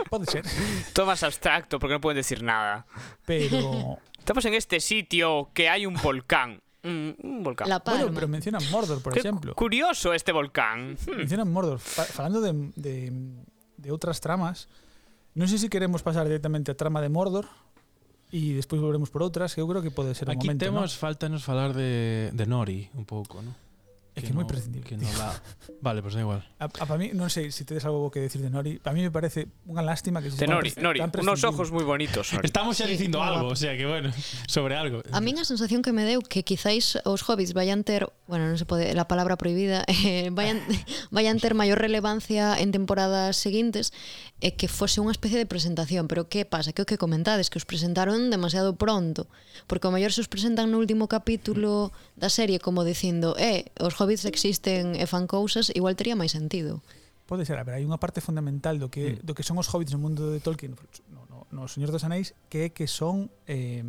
A: Pode ser,
D: Todo más abstracto porque no pueden decir nada.
A: pero...
D: Estamos en este sitio que hay un volcán. Mm, un volcán.
C: La palma.
A: Bueno, pero mencionan Mordor, por
D: Qué
A: exemplo.
D: curioso este volcán.
A: Mencionan Mordor. Fa- Falando de, de, de outras tramas, non sei se queremos pasar directamente a trama de Mordor e despois volveremos por outras, que eu creo que pode ser o
B: Aquí
A: momento,
B: temos, faltanos falar de, de Nori un pouco, ¿no?
A: ¿no? É que é moi prescindible.
B: Que no la... Vale, pues da igual.
A: A, a, para mí, non sei se tedes algo que decir de Nori, para mí me parece unha lástima que se
D: De
A: tan
D: Nori,
A: pres-
D: Nori.
A: tan
D: Unos
A: prescindible.
D: ojos muy bonitos. Nori.
B: Estamos ya
C: Sí,
B: dicindo
C: no,
B: algo, o
C: va.
B: sea que bueno, sobre algo.
C: A min a sensación que me deu que quizáis os hobbits vayan ter, bueno, non se pode, la palabra prohibida, eh, vayan vayan ter maior relevancia en temporadas seguintes e eh, que fose unha especie de presentación, pero que pasa? Que o que comentades que os presentaron demasiado pronto, porque o maior se os presentan no último capítulo da serie como dicindo, "Eh, os hobbits existen e fan cousas", igual tería máis sentido.
A: Pode ser, a ver, hai unha parte fundamental do que
D: Mm.
A: do que son os hobbits no mundo de Tolkien, no, no, no Señor dos Anéis, que é que son eh,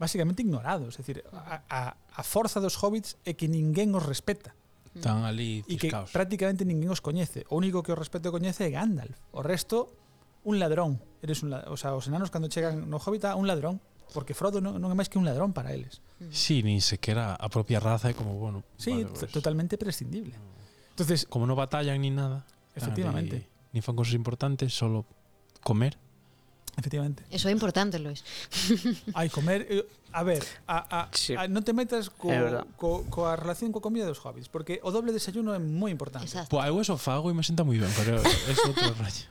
A: basicamente ignorados, é dicir, a, a, a forza dos hobbits é que ninguén os respeta
B: Están ali
A: e que
B: ciscaos.
A: prácticamente ninguén os coñece. O único que os respeto coñece é Gandalf. O resto, un ladrón. Eres un, la- o sea, os enanos cando chegan no Hobbit, ah, un ladrón, porque Frodo non, non é máis que un ladrón para eles.
B: Sí, ni sequera a propia raza é como, bueno,
A: Sí,
B: vale,
A: t-
B: pues,
A: totalmente prescindible. Entonces,
B: como no batallan ni nada. están
A: Efectivamente.
B: ali, Ni fan cosas importantes, solo comer.
A: efectivamente.
C: Eso é importante, Lois.
A: Hai comer, eh, a ver, a, a,
D: Sí.
A: a non te metas co,
D: É verdad.
A: co, coa relación coa comida dos hobbits, porque o doble desayuno é moi importante.
C: Exacto.
B: Pues eu eso fago e me senta moi ben, pero es outro rollo.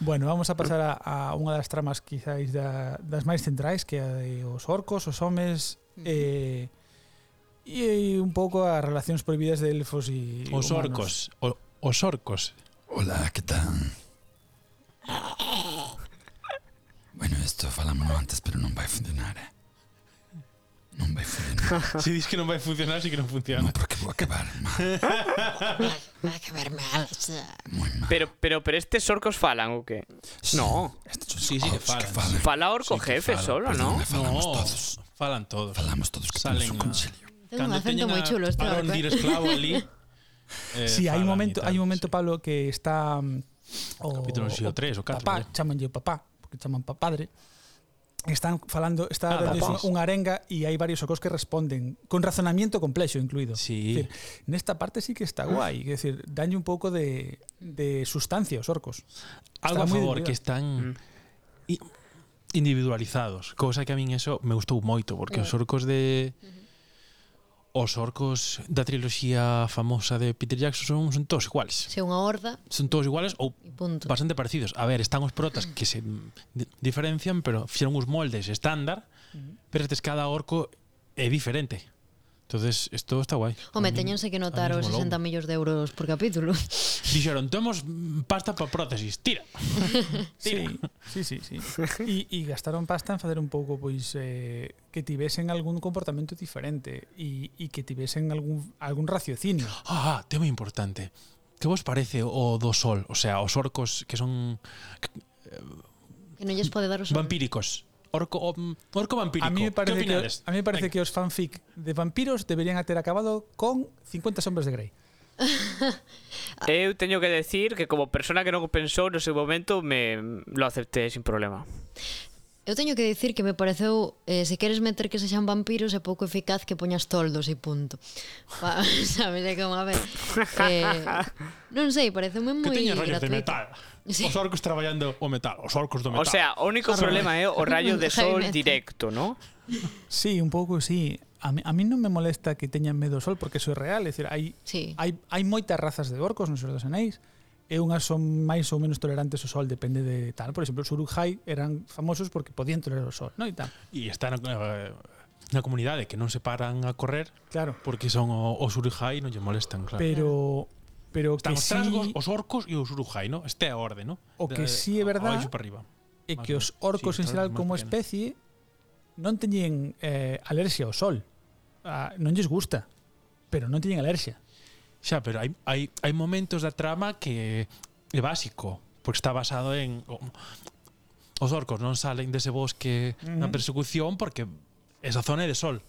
A: Bueno, vamos a pasar a, a unha das tramas quizáis da, das máis centrais que é a de os orcos, os homes eh, e, e un pouco as relacións prohibidas de elfos e
B: Os
A: humanos.
B: orcos, o, os orcos.
E: Hola, ¿qué tal? Bueno, esto falámoslo antes, pero non vai funcionar, eh? Non vai funcionar,
B: Si dis que non vai funcionar, si que non
E: no,
B: funciona.
E: porque vou acabar mal.
C: Vai que ver mal. o sea.
D: Pero, pero, pero estes orcos falan o qué? No.
E: Estos son
B: Sí, sí que
E: orcos
B: falan,
E: falan.
D: Fala
B: Sí
D: orco
B: que
D: jefe
B: falan, Pues
D: solo,
E: Perdón,
D: ¿no?
E: me falamos
B: No.
E: todos.
B: Falan todos.
E: Falamos todos que
B: Salen
E: temos un
B: a-
E: concilio.
C: Ten un acento moi chulo, este
B: a
C: orco, eh.
B: Arondir esclavo ali. Eh,
A: Si, sí, hai un
B: falan
A: momento,
B: e tal,
A: hai un momento
B: sí.
A: Pablo que está mm, o
B: Capítulo no sei, o tres, o catro,
A: papá,
B: ya.
A: chamanlle o papá, porque chaman pa padre. Están falando, está
B: Ah,
A: dándoles
B: papás.
A: unha arenga e hai varios orcos que responden con razonamiento complexo incluído.
B: Sí.
A: Es decir, nesta parte sí que está guai, é dicir, danlle un pouco de, de sustancia aos orcos.
B: Algo a
A: Está moi
B: favor
A: diluído.
B: que
C: Mm.
B: están i- individualizados, cosa que a min eso me gustou moito porque os orcos de os orcos da triloxía famosa de Peter Jackson son, son todos iguales.
C: Se unha horda
B: Son todos iguales ou
C: e punto.
B: bastante parecidos. A ver, están os protas que se di- diferencian, pero fixeron uns moldes estándar, pero estes cada orco é diferente. Entonces, isto está guai.
C: Home, teñense que notar os 60 millóns de euros por capítulo.
B: Dixeron, temos mm, pasta para prótesis, tira.
A: Sí, sí, sí, sí. E, e gastaron pasta en facer un pouco pois eh, que tivesen algún comportamento diferente e, e que tivesen algún algún raciocinio.
B: Ah, tema importante. Que vos parece o do sol? O sea, os orcos que son
C: Que non lles pode dar os
B: vampíricos. Orco, om- orco vampírico.
A: A
B: que
A: mí me parece que
B: opinades?
A: a mí me parece que os fanfic de vampiros deberían ter acabado con 50 sombras de Grey.
D: Eu teño que decir que como persona que non o pensou no seu momento me lo acepté sin problema.
C: Eu teño que dicir que me pareceu eh, se queres meter que sexan vampiros é pouco eficaz que poñas toldos e punto. Pa, sabes, é como a ver. Eh, non sei, parece moi
B: Que
C: moi
B: teñen rayos de
C: gratuito.
B: metal.
C: Sí.
B: Os orcos traballando o metal. Os orcos do metal.
D: O sea, o único
C: Claro.
D: problema é o rayo de
C: Heavy
D: sol
C: metal.
D: directo, ¿no?
A: Sí, un pouco sí. A mí, a mí non me molesta que teñan medo ao sol porque eso é real, é dicir, hai
C: Sí.
A: hai hai moitas razas de orcos nos Senhor dos Anéis e unhas son máis ou menos tolerantes ao sol, depende de tal. Por exemplo, os Uruk-hai eran famosos porque podían tolerar o sol, non? E tal.
B: E está na, eh, na comunidade que non se paran a correr
A: Claro.
B: porque son o- os urujai e non lle molestan, claro.
A: Pero pero
B: Están
A: que
B: os trasgos,
A: sí,
B: os orcos e os urujai, ¿no? Este é a orde, ¿no?
A: O que
B: De-
A: sí é
B: a-
A: verdad-
B: abaixo para arriba.
A: é
B: más
A: que os
B: grandes.
A: orcos
B: Sí,
A: en
B: trasgos
A: xeral
B: máis
A: como
B: pequenos.
A: especie non teñen eh, alerxia ao sol. Ah, non lles gusta, pero non teñen alerxia.
B: Xa, pero hai, hai, hai momentos da trama que é básico, porque está basado en... o- Os orcos non salen dese bosque na persecución porque esa zona é de sol.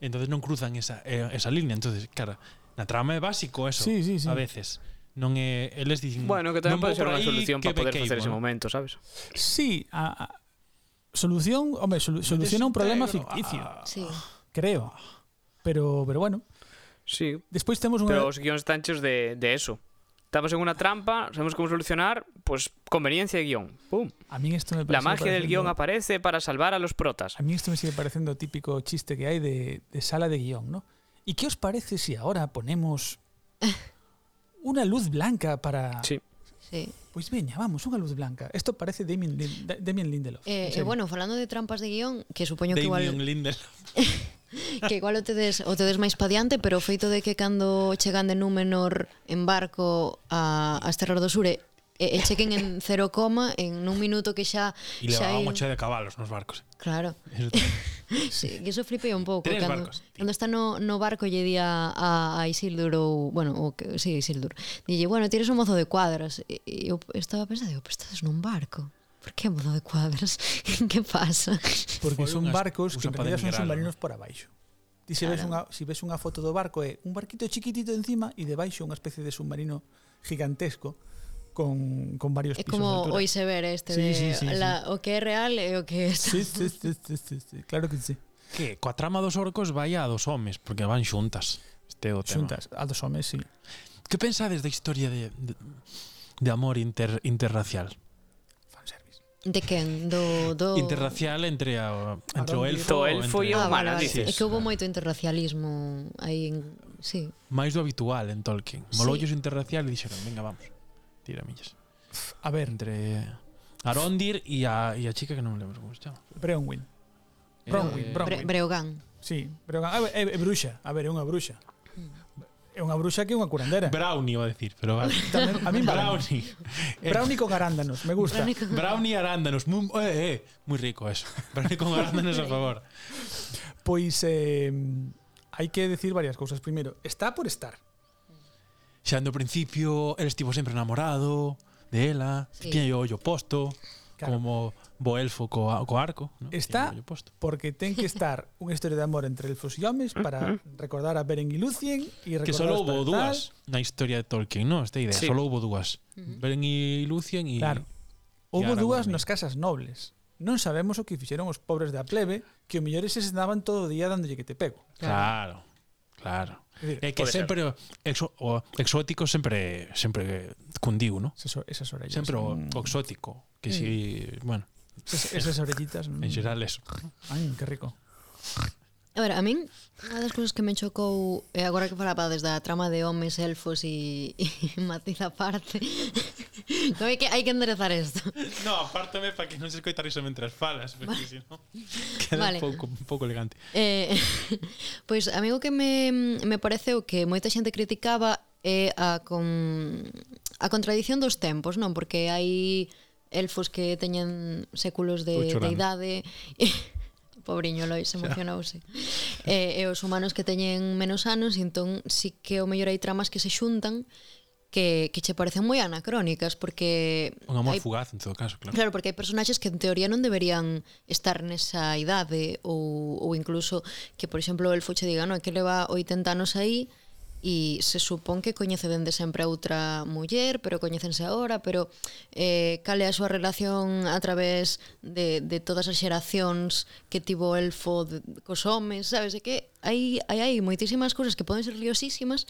B: Entonces non cruzan esa, eh, esa línea. Entonces, cara, na trama é básico eso,
A: Sí, sí, sí.
B: a veces. Non é... Eles dicen...
D: Bueno, que tamén
B: "Non vou
D: pode ser
B: por
D: unha
B: aí,
D: solución
B: que me
D: para poder
B: ¿eh? queimo",
D: facer ese
B: ¿no?
D: momento, sabes?
A: Sí, a- a- solución, hombre, solu- soluciona un problema
B: Desintegro,
A: ficticio,
B: ah.
C: Sí.
A: creo. Pero, pero bueno,
D: Sí,
A: despois temos unha
D: pero os guións están cheios de, de eso. Estamos en unha trampa, sabemos como solucionar, pues conveniencia de guión. Pum.
A: a mí esto me
D: La
A: parece-
D: magia del
A: pareciendo-
D: guión aparece para salvar a los protas.
A: A mí esto me sigue pareciendo típico chiste que hay de, de sala de guión, ¿no? ¿Y qué os parece si ahora ponemos una luz blanca para...
D: Sí.
C: sí.
A: Pues veña, vamos, unha luz blanca. Esto parece Damien, Lin- Da- Damien Lindelof. en
C: Eh, e
A: serio.
C: bueno, falando de trampas de guión, que supoño que igual
B: Damien Lindelof.
C: que igual o tedes o tedes máis padiante, pero o feito de que cando chegan de Númenor en barco a as terras do Sure e, e chequen en cero coma en un minuto que xa
B: E
C: xa
B: levaban
C: hai-
B: moche de cabalos nos barcos.
C: Claro.
B: Eso tamén.
C: Sí, que eso flipei un pouco
B: Tres
C: cando,
B: barcos, tío.
C: cando está no, no barco lle di a, a, a Isildur ou, bueno, o que, sí, Isildur dille, bueno, tires un mozo de cuadras e, e eu estaba pensando, digo, pero estás nun barco por que mozo de cuadras? que pasa?
A: Porque
B: Foi
A: son
B: unhas-
A: barcos que
B: usan
A: en
B: para
A: realidad son
B: emigrar,
A: submarinos por abaixo. Ti se
D: Ah,
A: ves unha, si ves unha foto do barco é un barquito chiquitito encima e debaixo unha especie de submarino gigantesco con, con varios
C: É
A: pisos
C: como
A: de
C: o
A: altura.
C: iceberg este
A: Sí,
C: de
A: sí, sí,
C: la, o que é real e o que é
A: Sí, sí, sí, sí, sí, sí, claro que sí.
B: que coa trama dos orcos vai a dos homes, porque van xuntas. Este é o tema.
A: Xuntas, a dos homes, sí.
B: Que pensades da historia de, de, de amor inter, interracial?
A: Fanservice.
C: de quen? Do, do...
B: Interracial entre, a, entre o
A: Adón,
B: elfo,
D: o elfo e
B: entre,
D: o
C: Ah, vale,
D: humana,
C: vale.
D: dices.
C: É que houve moito interracialismo aí en... Sí.
B: máis do Ah, habitual en Tolkien.
C: Sí.
B: Molollos interracial e dixeron, venga, vamos. Tira millas.
A: A ver,
B: Entre Arondir e a, e a chica que non me lembro como se chama.
A: Breonwin.
B: Eh,
A: Bronwyn, Bronwyn.
C: Bre Breogán.
A: Sí, pero a ver, é, é bruxa, a ver, é unha bruxa. É unha bruxa que é unha curandera.
B: Brownie, va a decir, pero vale.
A: Tamén, a min Brownie.
B: Brownie.
A: Brownie con arándanos, me gusta.
B: Brownie arándanos. Muy, eh, eh, muy rico eso. Brownie con arándanos a favor.
A: Pois eh, hai que decir varias cousas. Primeiro, está por estar.
B: Xa no principio, el estivo sempre enamorado de ela, sí.
C: Sí.
B: tiñe o ollo posto,
A: Claro.
B: claro. como bo elfo co, co arco. ¿no?
A: Está-
B: Tiñe o ollo posto.
A: Porque ten que estar unha historia de amor entre elfos e homes para recordar a Beren y Lucien e recordar
B: Que só
A: os
B: houbo
A: parentais.
B: dúas na historia de Tolkien, non? Esta idea, sí.
D: Sí.
B: só houbo dúas. Beren e Lucien e...
A: Claro.
B: e
A: Houbo
B: Aragorn.
A: dúas nas casas nobles. Non sabemos o que fixeron os pobres da plebe, que o mellor eses andaban todo o día dándolle que te pego.
B: Claro, claro.
A: É dicir,
B: É que
D: Pode ser.
B: sempre o exo, o exótico sempre sempre cundiu, non?
A: Esas, esas orellas.
B: Sempre o,
A: mm,
B: o exótico, que si, bueno,
A: esas, esas orellitas. mm,
B: en xeral eso.
A: Ay, que rico.
C: A ver, a min unha das cousas que me chocou é agora que falabades da trama de homes, elfos e, e matiz aparte no, hai, que, hai que enderezar isto
B: No, apártame para que non se escoita riso mentras falas, porque vale. senón queda
C: Vale.
B: vale. pouco, un pouco elegante.
C: Eh, pois a mí o que me, me pareceu que moita xente criticaba é a, con, a contradición dos tempos, non? Porque hai elfos que teñen séculos de,
B: Estou
C: de
B: chorando.
C: idade Pobriño Lois emocionouse e, e os humanos que teñen menos anos entón sí que o mellor hai tramas que se xuntan que, que che parecen moi anacrónicas porque
B: Un amor
C: hai
B: fugaz, en todo caso, claro.
C: Claro, porque hai personaxes que en teoría non deberían estar nesa idade ou, ou incluso que, por exemplo, o elfo che diga non, é que leva 80 anos aí e se supón que coñece dende sempre a outra muller, pero coñecense agora, pero eh, cal é a súa relación a través de, de todas as xeracións que tivo o elfo de, cos homes, sabes? É que hai, hai, hai moitísimas cousas que poden ser liosísimas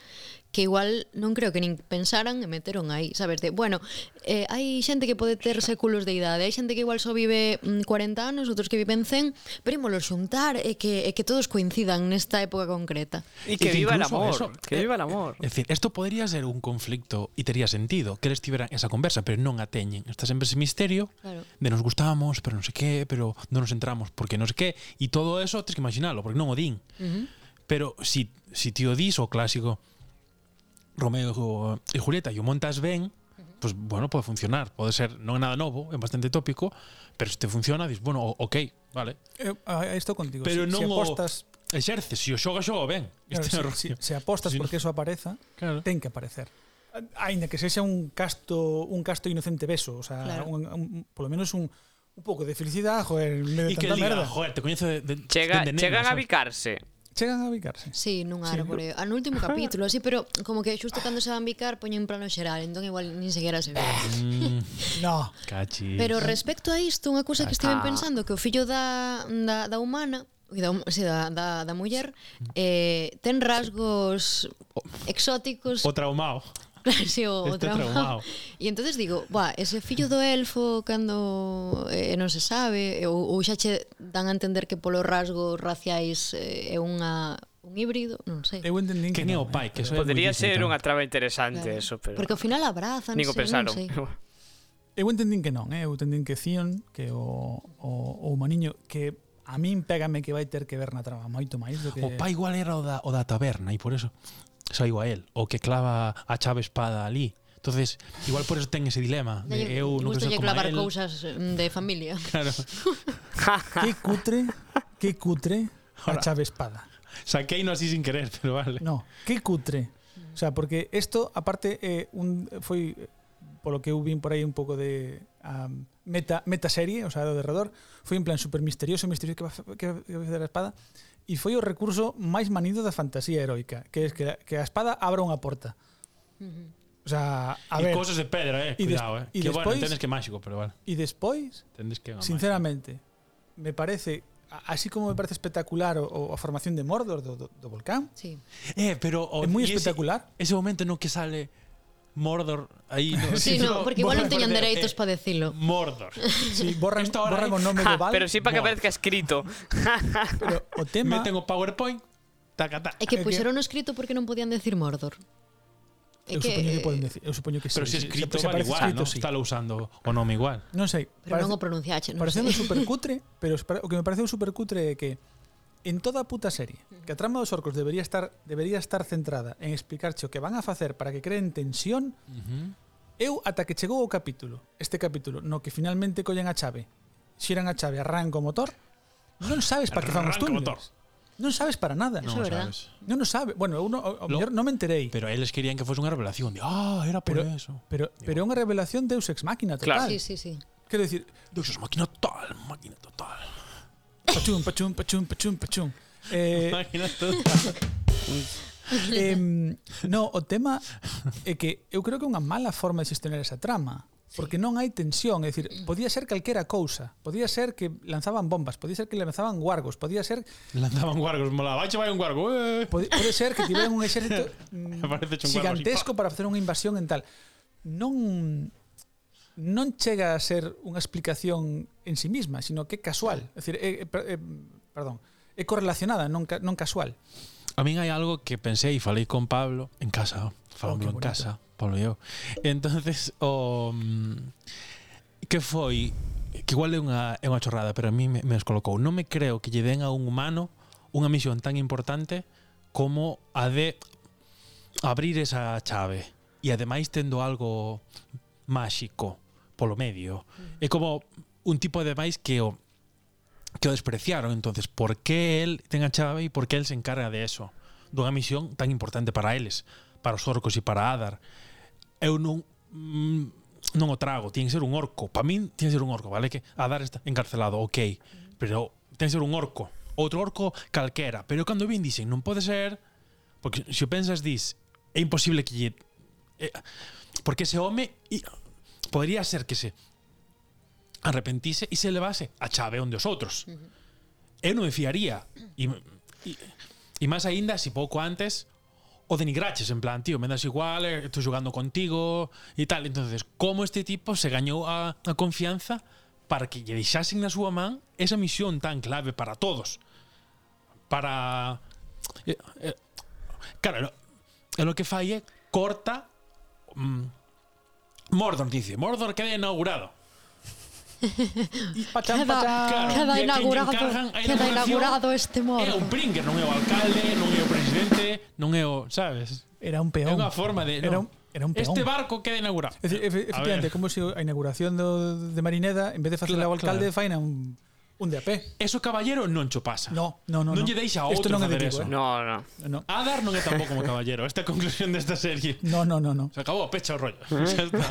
C: que igual non creo que nin pensaran e meteron aí, sabes, de, bueno, eh, hai xente que pode ter séculos de idade, hai xente que igual só vive mm, 40 anos, outros que viven 100, pero ímolos xuntar e que, e que todos coincidan nesta época concreta.
D: Y que
B: que
D: viva el
B: incluso eso-
D: amor. que viva el amor.
B: Es decir, esto podría ser un conflicto y tería sentido que eles tiveran esa conversa, pero non a teñen. Está sempre ese misterio
C: Claro.
B: de nos gustamos, pero non sei que, pero non nos entramos porque non sei que, e todo eso tens que imaginalo, porque non o din.
C: Uh -huh.
B: Pero si, si ti o dis o clásico Romeo e Julieta e o montas ben, pues bueno, pode funcionar, pode ser non é nada novo, é bastante tópico, pero se te funciona, dis, bueno, o- ok, vale.
A: Eh, a- a Esto contigo.
B: Pero
A: si, si
B: non o-
A: apostas
B: exerce, se o xoga, xoga ben.
A: Claro,
B: Este é o
A: se,
B: rollo.
A: se- se apostas
B: Si no-
A: porque eso apareza,
B: Claro.
A: ten que aparecer. Ainda que sexa un casto un casto inocente beso, o sea,
C: Claro.
A: un, un- polo menos un, un pouco de felicidade, joder, en medio de
B: E que el
A: tanta
B: diga,
A: merda.
B: joder, te coñezo de, de,
D: Chega,
B: dende nena,
D: chegan a
B: sabes?"
D: bicarse.
A: Chegan a bicarse.
C: Sí, nun
A: Sí,
C: árbore. Ah, No último capítulo, así, pero como que xusto cando se van bicar poñen un plano xeral, entón igual nin sequera se ve.
B: Mm,
A: No,
B: cachis.
C: Pero respecto a isto, unha cousa que estiven
D: Ah.
C: pensando que o fillo da, da, da humana e da, hum- sí, da, da, da muller eh, ten rasgos exóticos
B: o traumao.
C: Claro, sí, o, o
B: Este
C: trauma.
B: traumao.
C: E entonces digo, buah, ese fillo do elfo cando eh, non se sabe ou, ou xa che dan a entender que polos rasgos raciais eh, é unha un híbrido, non sei.
A: eu entendín
B: Que
A: que
B: é o
A: non,
B: pai,
A: eh,
B: que eso
A: pero-
B: é moi
D: Podría
B: difícil
D: ser
B: tamén.
D: unha traba interesante
C: Claro.
D: eso, pero
C: Porque ao final abrazan,
D: Nico pensaron.
C: Non sei.
A: Eu entendín que non, eh? eu entendín que Zion, que o, o, o maniño, que a min pégame que vai ter que ver na trama moito máis do que...
B: O pai igual era o da, o da taberna e por eso saiu a él, o que clava a chave espada ali. Entonces, igual por eso ten ese dilema de
C: Dalle-
B: eu non quero
C: gustalle
B: ser como
C: clavar
B: él.
C: cousas mm, de familia.
B: Claro.
A: Que cutre, que cutre a
B: Ahora.
A: chave espada.
B: Saquei no así sin querer, pero vale.
A: No, que cutre. O sea, porque isto, aparte, eh, un, foi eh, polo que eu vin por aí un pouco de um, meta, metaserie, o sea, do derredor, foi un plan super misterioso, misterioso que va, fa- que, va- que vai facer a espada, e foi o recurso máis manido da fantasía heroica, que é que, a- que a espada abra unha porta. O sea, a
B: e
A: ver,
B: cosas de pedra, eh,
A: y des-
B: cuidado, eh.
A: y
B: Que bueno,
A: despois-
B: entendes que é máxico, pero vale.
A: e despois,
B: Entendes que é unha
A: sinceramente, me parece, a- así como me parece espectacular o, o a formación de Mordor do, do, do volcán,
C: Sí.
B: máxica. Eh, pero o,
A: é moi
B: y ese-
A: espectacular.
B: Ese momento no que sale Mordor aí. No,
C: Sí, no, porque igual non
B: Porque,
C: teñan dereitos
B: eh,
C: para decilo.
B: Mordor.
A: Sí, borran,
B: Esto ahora
A: borran
B: é-
A: o nome
D: Ja,
A: do Val,
D: pero sí para que
B: Buah.
D: aparezca escrito.
A: pero o tema...
B: Meten o PowerPoint. Taca, taca.
C: É que
A: é eh, que-
C: puxeron o escrito porque non podían decir Mordor.
A: Eu
C: É
A: supoño que poden
C: eh,
A: decir, eu supoño que
B: Pero
A: sí.
B: si escrito
A: se
B: vale
A: aparece
B: igual, non?
A: sí.
B: Está lo usando o nome igual.
A: Non sei,
C: Pero
A: parece,
C: non o pronunciache, non
A: parecendo
C: sei.
A: supercutre, pero espera- o que me parece supercutre é que en toda a puta serie, que a trama dos orcos debería estar debería estar centrada en explicarche o que van a facer para que creen tensión, eu ata que chegou o capítulo, este capítulo, no que finalmente collen a chave, xiran a chave, arranco o motor, non sabes para que fan
B: Arranca
A: os
B: o
A: túneles.
B: motor.
A: Non sabes para nada.
C: Eso
A: Non,
C: é verdad.
B: sabes.
A: non o sabe. Bueno, eu non, o, o
B: Lo-
A: mellor non me enterei.
B: Pero eles querían que fose unha revelación. De, ah, era por
A: Pero-
B: eso.
A: Pero, pero é unha revelación deus ex máquina total.
D: Claro.
C: Sí, sí, sí.
A: Quero dicir,
B: Deus, es máquina total, máquina total.
A: Pachum, pachum, pachum, pachum, pachum. Eh,
B: Máquina total.
A: em, no, o tema é que eu creo que é unha mala forma de xestionar esa trama. Porque non hai tensión, é dicir, podía ser calquera cousa, podía ser que lanzaban bombas, podía ser que lanzaban guargos, podía ser
B: Lanzaban guargos, mola. Vai, vai un guargo. Eh.
A: pode, pode ser que tiveran un exército mm,
B: Aparece un guargo así,
A: gigantesco para facer unha invasión en tal. Non non chega a ser unha explicación en sí misma, sino que é casual, é dicir, é, é, per- é, perdón, é correlacionada, non ca- non casual.
B: A min hai algo que pensei e falei con Pablo en casa, falamos oh,
A: Oh, que
B: en
A: bonito.
B: casa, Pablo e eu. Entonces, o mm, que foi que igual é unha é unha chorrada, pero a mí me, me descolocou. Non me creo que lle den a un humano unha misión tan importante como a de abrir esa chave e ademais tendo algo máxico polo medio.
A: Mm.
B: É como un tipo ademais que oh, o que o despreciaron. Entonces, por que él ten a chave e por que él se encarga de eso? Dunha misión tan importante para eles, para os orcos e para Adar. Eu non mm, non o trago, tiene que ser un orco. Para min tiene que ser un orco, vale? Que Adar está encarcelado, ok, pero tiene que ser un orco. Outro orco calquera, pero cando vin dicen, non pode ser, porque se o pensas dis, é imposible que lle eh, porque ese home i- podría ser que se arrepentise e se levase a chave onde os outros. Eu non me fiaría. E, e, e máis aínda, se pouco antes, o denigraches, en plan, tío, me das igual, eh, estou jugando contigo e tal. entonces como este tipo se gañou a, a confianza para que lle deixasen na súa man esa misión tan clave para todos? Para... Eh, eh, claro, lo- e lo que fai é corta mm, Mordor, dice. Mordor queda inaugurado.
A: Pacham, pacham.
C: Cada,
B: Claro,
C: cada
B: e a quen lle
C: inaugurado,
B: encargan a
C: queda
B: inauguración
C: inaugurado este
B: É
C: morro.
B: un bringer, non é o alcalde, non é o presidente, non é o, sabes?
A: Era un
B: É
A: peón.
B: unha forma de,
A: Era
B: non.
A: un, era un peón.
B: Este barco queda inaugurado.
A: É dicir, efe-
B: A
A: efectivamente,
B: ver.
A: como se a inauguración do, de Marineda, en vez de facerla
B: Cla-
A: ao alcalde,
B: claro.
A: faina un, un Un DAP.
B: Eso, caballero, non cho pasa.
A: No, no, no.
B: non lle deixa a outro
A: Esto non é
B: facer
A: de
B: eso.
A: Vigo, eh.
D: No,
A: No,
D: no.
B: Adar non é tampouco como caballero. Esta é a conclusión desta serie.
A: no, no, no, no.
B: Se acabou, pecha o rollo.
C: Mm.
B: Xa está.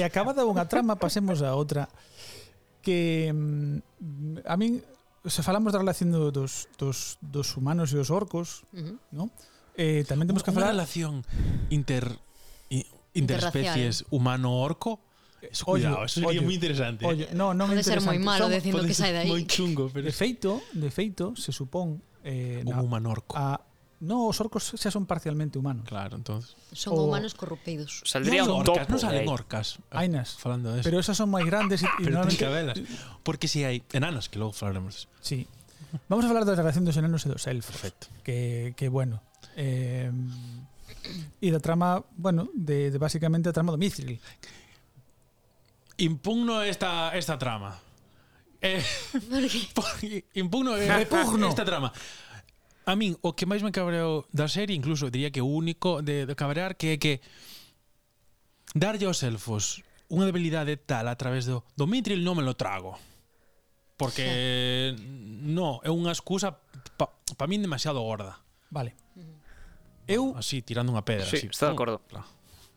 A: E acabada unha trama, pasemos a outra que mm, a min se falamos da relación do- dos, dos, dos humanos e os orcos,
C: Ujú.
A: ¿no? Eh, tamén temos que
B: Unha
A: falar
B: relación inter i- interespecies humano-orco. Eso,
A: Ollo,
B: cuidado, eso sería
A: ollo,
B: moi interesante.
A: Ollo, no, non é
C: Pode ser moi
A: interesante.
C: malo
A: Son-
C: decir- Dicindo
B: Pode
C: que
B: ser
C: sai de aí.
B: Moi chungo, pero
A: De feito, de feito, se supón eh,
B: un
A: na,
B: humano-orco.
A: a, no, os orcos xa son parcialmente humanos.
B: Claro, entonces.
C: Son
A: O-
C: humanos corrompidos.
D: Saldría
B: non
D: un
B: orcas,
D: topo.
B: non salen
C: eh.
D: de ahí.
B: orcas.
A: Hainas.
B: Falando de eso.
A: Pero esas son máis grandes e, e
B: Pero ten
A: normalmente-
B: cabelas. Porque si hai enanos, que logo falaremos.
A: Sí. Vamos a falar da relación dos enanos e dos elfos.
B: Perfecto.
A: Que, que bueno. Eh, e da trama, bueno, de, de basicamente a trama do Mithril.
B: Impugno esta, esta trama. Eh, porque impugno eh,
A: Repugno.
B: esta trama. A min, o que máis me cabreou da serie, incluso diría que o único de, de cabrear, que é que darlle aos elfos unha debilidade tal a través do, do Mithril non me lo trago. Porque no, é unha excusa pa, pa min demasiado gorda.
A: Vale. Eu
B: Así, tirando unha pedra.
D: Sí,
B: así.
D: estou de acordo.
B: Claro.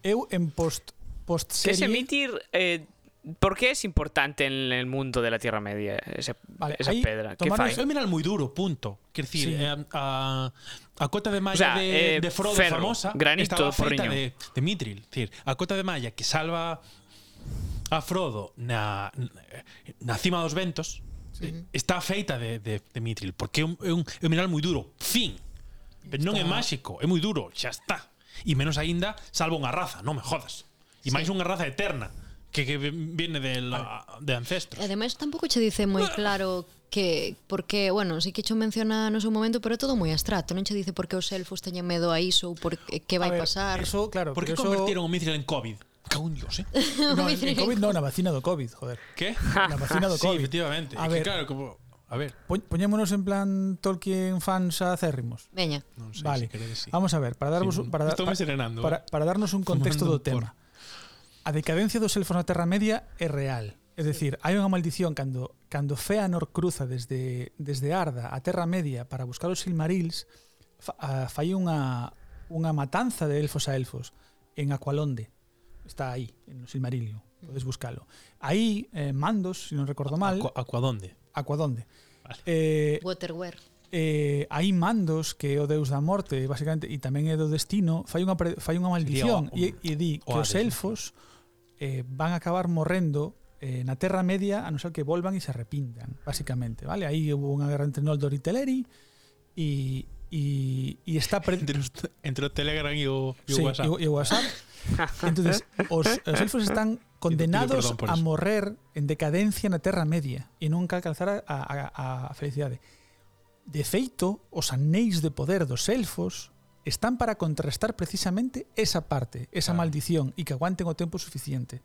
A: eu en post post
D: Que ese
A: serie,
D: mitir... Eh, ¿Por qué es importante en el mundo de la Tierra Media ese-
A: Vale,
D: esa
A: ahí
D: pedra? ¿Qué
A: tomaros
D: fai?
B: Eso é mineral moi duro, punto. Quer dicir,
A: Sí.
B: sí. a, a cota de malla
D: O sea,
B: de,
D: eh,
B: de Frodo
D: ferro,
B: famosa
D: granito
B: estaba
D: por
B: feita
D: riñón.
B: de, de mitril. Decir, a cota de malla que salva a Frodo na, na cima dos ventos sí. está feita de, de, de mitril, porque é un, é un, é un mineral moi duro. Fin. Pero non é máxico, é moi duro, xa está. E menos aínda salva unha raza, non me jodas. E máis unha raza eterna que, que viene del, de ancestros.
C: E Ademais, tampouco che dice moi claro que porque, bueno, si que cho menciona no seu momento, pero é todo moi abstracto, non che dice por que os elfos teñen medo a iso ou por que, que
A: a
C: vai
A: ver,
C: pasar.
A: Eso, claro,
B: Por que
A: pero
B: convertiron o Mithril en COVID? Cago en Dios, eh?
A: eso, no, en- en COVID no, na vacina do COVID, joder.
B: ¿Qué?
A: Na vacina do
B: sí,
A: COVID.
B: efectivamente. Es
A: A
B: que,
A: ver.
B: claro, como. A ver.
A: Poñ- Poñémonos en plan Tolkien fans acérrimos.
C: Veña.
B: No sé,
A: Vale.
B: si queréis, sí.
A: Vamos a ver, para darvos
B: Sí,
A: para dar-
B: estou me ¿eh? serenando,
A: para, para darnos un contexto
B: Fumando
A: do
B: un porro.
A: tema. A decadencia dos elfos na Terra Media é real. É dicir, hai unha maldición cando cando Feanor cruza desde desde Arda a Terra Media para buscar os Silmarils, fa, ah, a, fai unha unha matanza de elfos a elfos en Aqualonde. Está aí, en o Silmarillion. Podes buscalo. Aí, eh, Mandos, se non recordo mal,
B: Aqua- Aquadonde.
A: Aquadonde.
B: Vale.
A: Eh,
C: Waterware.
A: eh, hai mandos que é o deus da morte, basicamente, e tamén é do destino, fai unha, pre- fai unha maldición
B: Sería o-
A: e, e di
B: o
A: que os
B: Hades,
A: elfos eh, van a acabar morrendo eh, na Terra Media a non ser que volvan e se arrepintan, basicamente, vale? Aí houve unha guerra entre Noldor e Teleri e, e, e está pre-
B: Entre, os- entre o Telegram y o, y o
A: Sí,
B: WhatsApp.
A: e o- e o WhatsApp. Entonces, os, os elfos están condenados
B: perdón por
A: a
B: eso.
A: morrer en decadencia na Terra Media e nunca alcanzar a, a, a felicidade. De feito, os anéis de poder dos elfos están para contrastar precisamente esa parte, esa
B: Claro.
A: maldición e que aguanten o tempo suficiente.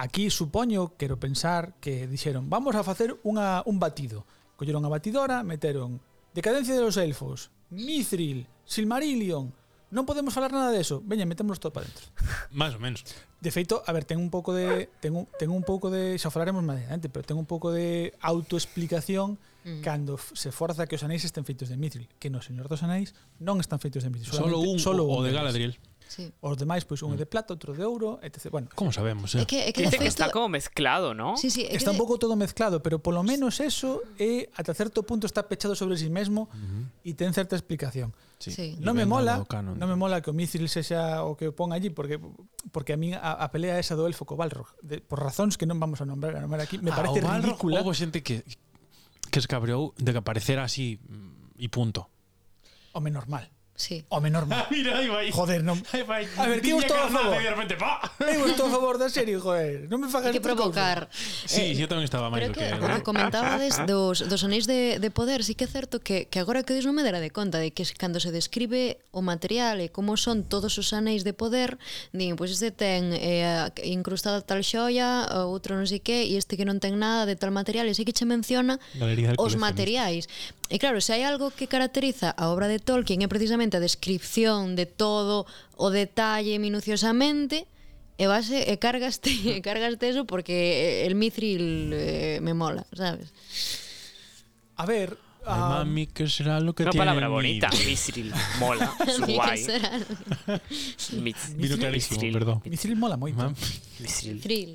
A: Aquí supoño, quero pensar que dixeron, vamos a facer unha, un batido. Colleron a batidora, meteron Decadencia de los elfos, Mithril, Silmarillion. Non podemos falar nada de eso. Veña, metémoslo todo para dentro.
B: Más o menos.
A: De feito, a ver, ten un pouco de ten un, ten un pouco de, xa falaremos máis adiante, pero ten un pouco de autoexplicación mm. cando f- se forza que os anéis estén feitos de Mithril, que no Señor dos Anéis non están feitos de Mithril,
B: Solo
A: solamente-
B: un
A: solo
B: o, o de Mm.
A: deles.
B: Galadriel.
C: Sí.
A: Os demais pois un é de plata, outro de ouro, etc. Bueno,
B: ¿Cómo sabemos? eh?
C: É que, é que de
D: Dice que está
C: feito...
D: como mezclado, ¿no?
C: Sí, sí, é
A: está
C: que
A: un
C: de-
A: pouco todo mezclado, pero polo menos eso é ata certo punto está pechado sobre si sí mesmo e ten certa explicación.
C: sí.
A: Non me
B: Nivel
A: mola,
B: dado canon.
A: non me mola que o Mithril sexa o que o pon allí porque porque a min a, a pelea esa do elfo co Balrog, de, por razóns que non vamos a nombrar, a nombrar aquí, me
B: Ah, o
A: parece
B: Balrog,
A: ridícula.
B: Hubo gente que, que se cabreó de que apareciera así mm, y punto.
A: Home normal,
C: Sí.
A: home normal.
B: Mira, ahí va. ahí.
A: Joder, non.
B: Ahí va. ahí.
A: A ver, ¿qué
B: Diña
A: os todo a
B: Carnaza,
A: favor?
B: y de repente, ¡pa!
A: Eu estou a favor da serie, joder. Non me fagas
C: Hai que
A: estas Eh,
C: provocar.
B: Sí, yo ¿eh? también estaba mal.
C: Pero que, o que comentabades dos, dos anéis de, de poder, sí que é certo que, que agora que o dis non me dera de conta de que es- cando se describe o material e como son todos os anéis de poder, din, pois este ten eh, a- incrustada tal xoia, o outro non sei que, e este que non ten nada de tal material, e sí que che menciona
B: Galería del coleccionista.
C: os materiais. E claro, se hai algo que caracteriza a obra de Tolkien é precisamente a descripción de todo o detalle minuciosamente, E base, e cargaste, e cargaste eso porque el mithril eh, me mola, sabes?
A: A ver.
B: Ay,
A: ah,
B: mami, ¿qué será lo que
D: Una
B: tiene
D: palabra
B: en mí?
D: bonita, Mithril. Mola, es guay. Mit-
B: Vino clarísimo,
D: Mithril.
B: perdón.
A: Mithril mola moito.
B: Mam-
D: Mithril.
C: Thrill.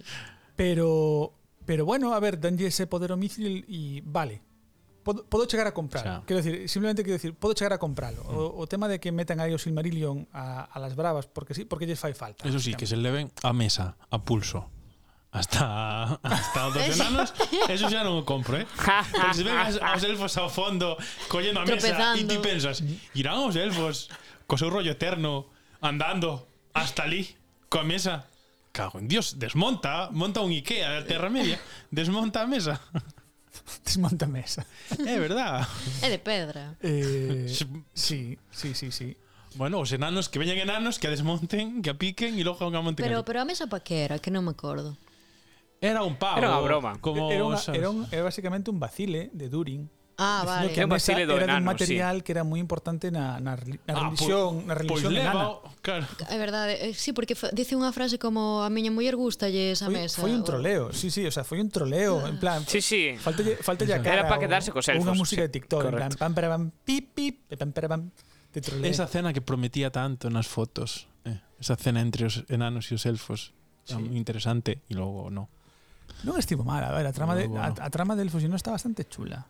A: Pero pero bueno, a ver, danlle ese poder ao Mithril e vale. Podo, podo chegar a compralo.
B: Xa. Mm.
A: Quero decir, simplemente quero decir, podo chegar a compralo. O, o tema de que metan aí o Silmarillion a, a las bravas porque sí, porque lles fai falta.
B: Eso sí, que se le ven a mesa, a pulso. Hasta, hasta os dos
C: Eso.
B: enanos, eso xa non o compro, eh? Porque se ven as- aos elfos ao fondo collendo a mesa e
C: Tropezando.
B: ti pensas irán os elfos co seu rollo eterno andando hasta ali coa mesa cago en dios desmonta monta un Ikea da Terra Media desmonta a mesa
A: Desmonta a mesa.
B: é verdad
C: É de pedra.
A: Eh,
B: Se-
A: sí, sí, sí, sí.
B: bueno os enanos que veñan enanos que a desmonten que a piquen e logo que a monten
C: Pero,
B: ali.
C: pero a mesa pa que era, que non me acordo.
B: era un pavo
D: Era unha broma.
B: como,
A: era, unha,
B: sabes?
A: era, un, era basicamente un vacile de Durin.
C: Ah,
A: dicindo
C: vale.
A: que a
D: Era un
A: mesa
D: vacile do
A: era de un
D: enano,
A: material que era moi importante na, na, reli- na
B: Ah,
A: religión, na
B: pois
A: religión enana.
B: leva claro
C: É verdade, eh, sí, porque fa- dice unha frase como a miña muller gustalle esa
A: Foi,
C: mesa.
A: foi un
C: o-
A: troleo, sí, sí, o sea, foi un troleo, en plan,
D: Sí, sí.
A: Faltalle, faltalle a
B: Era
A: cara.
D: pa
A: o-
D: quedarse
A: o
D: cos
A: Unha
D: elfos,
A: música
D: sí,
A: de TikTok. En plan,
D: correcto.
A: pam, para, pam, pip, pip, pe, pam, para, pam. Te trolea.
B: Esa cena que prometía tanto nas fotos, eh, esa cena entre os enanos e os elfos,
A: Sí.
B: sí. interesante e logo no.
A: Non estivo mal. A ver, a trama,
B: No,
A: de,
B: bueno.
A: a, a trama del fusionero está bastante chula.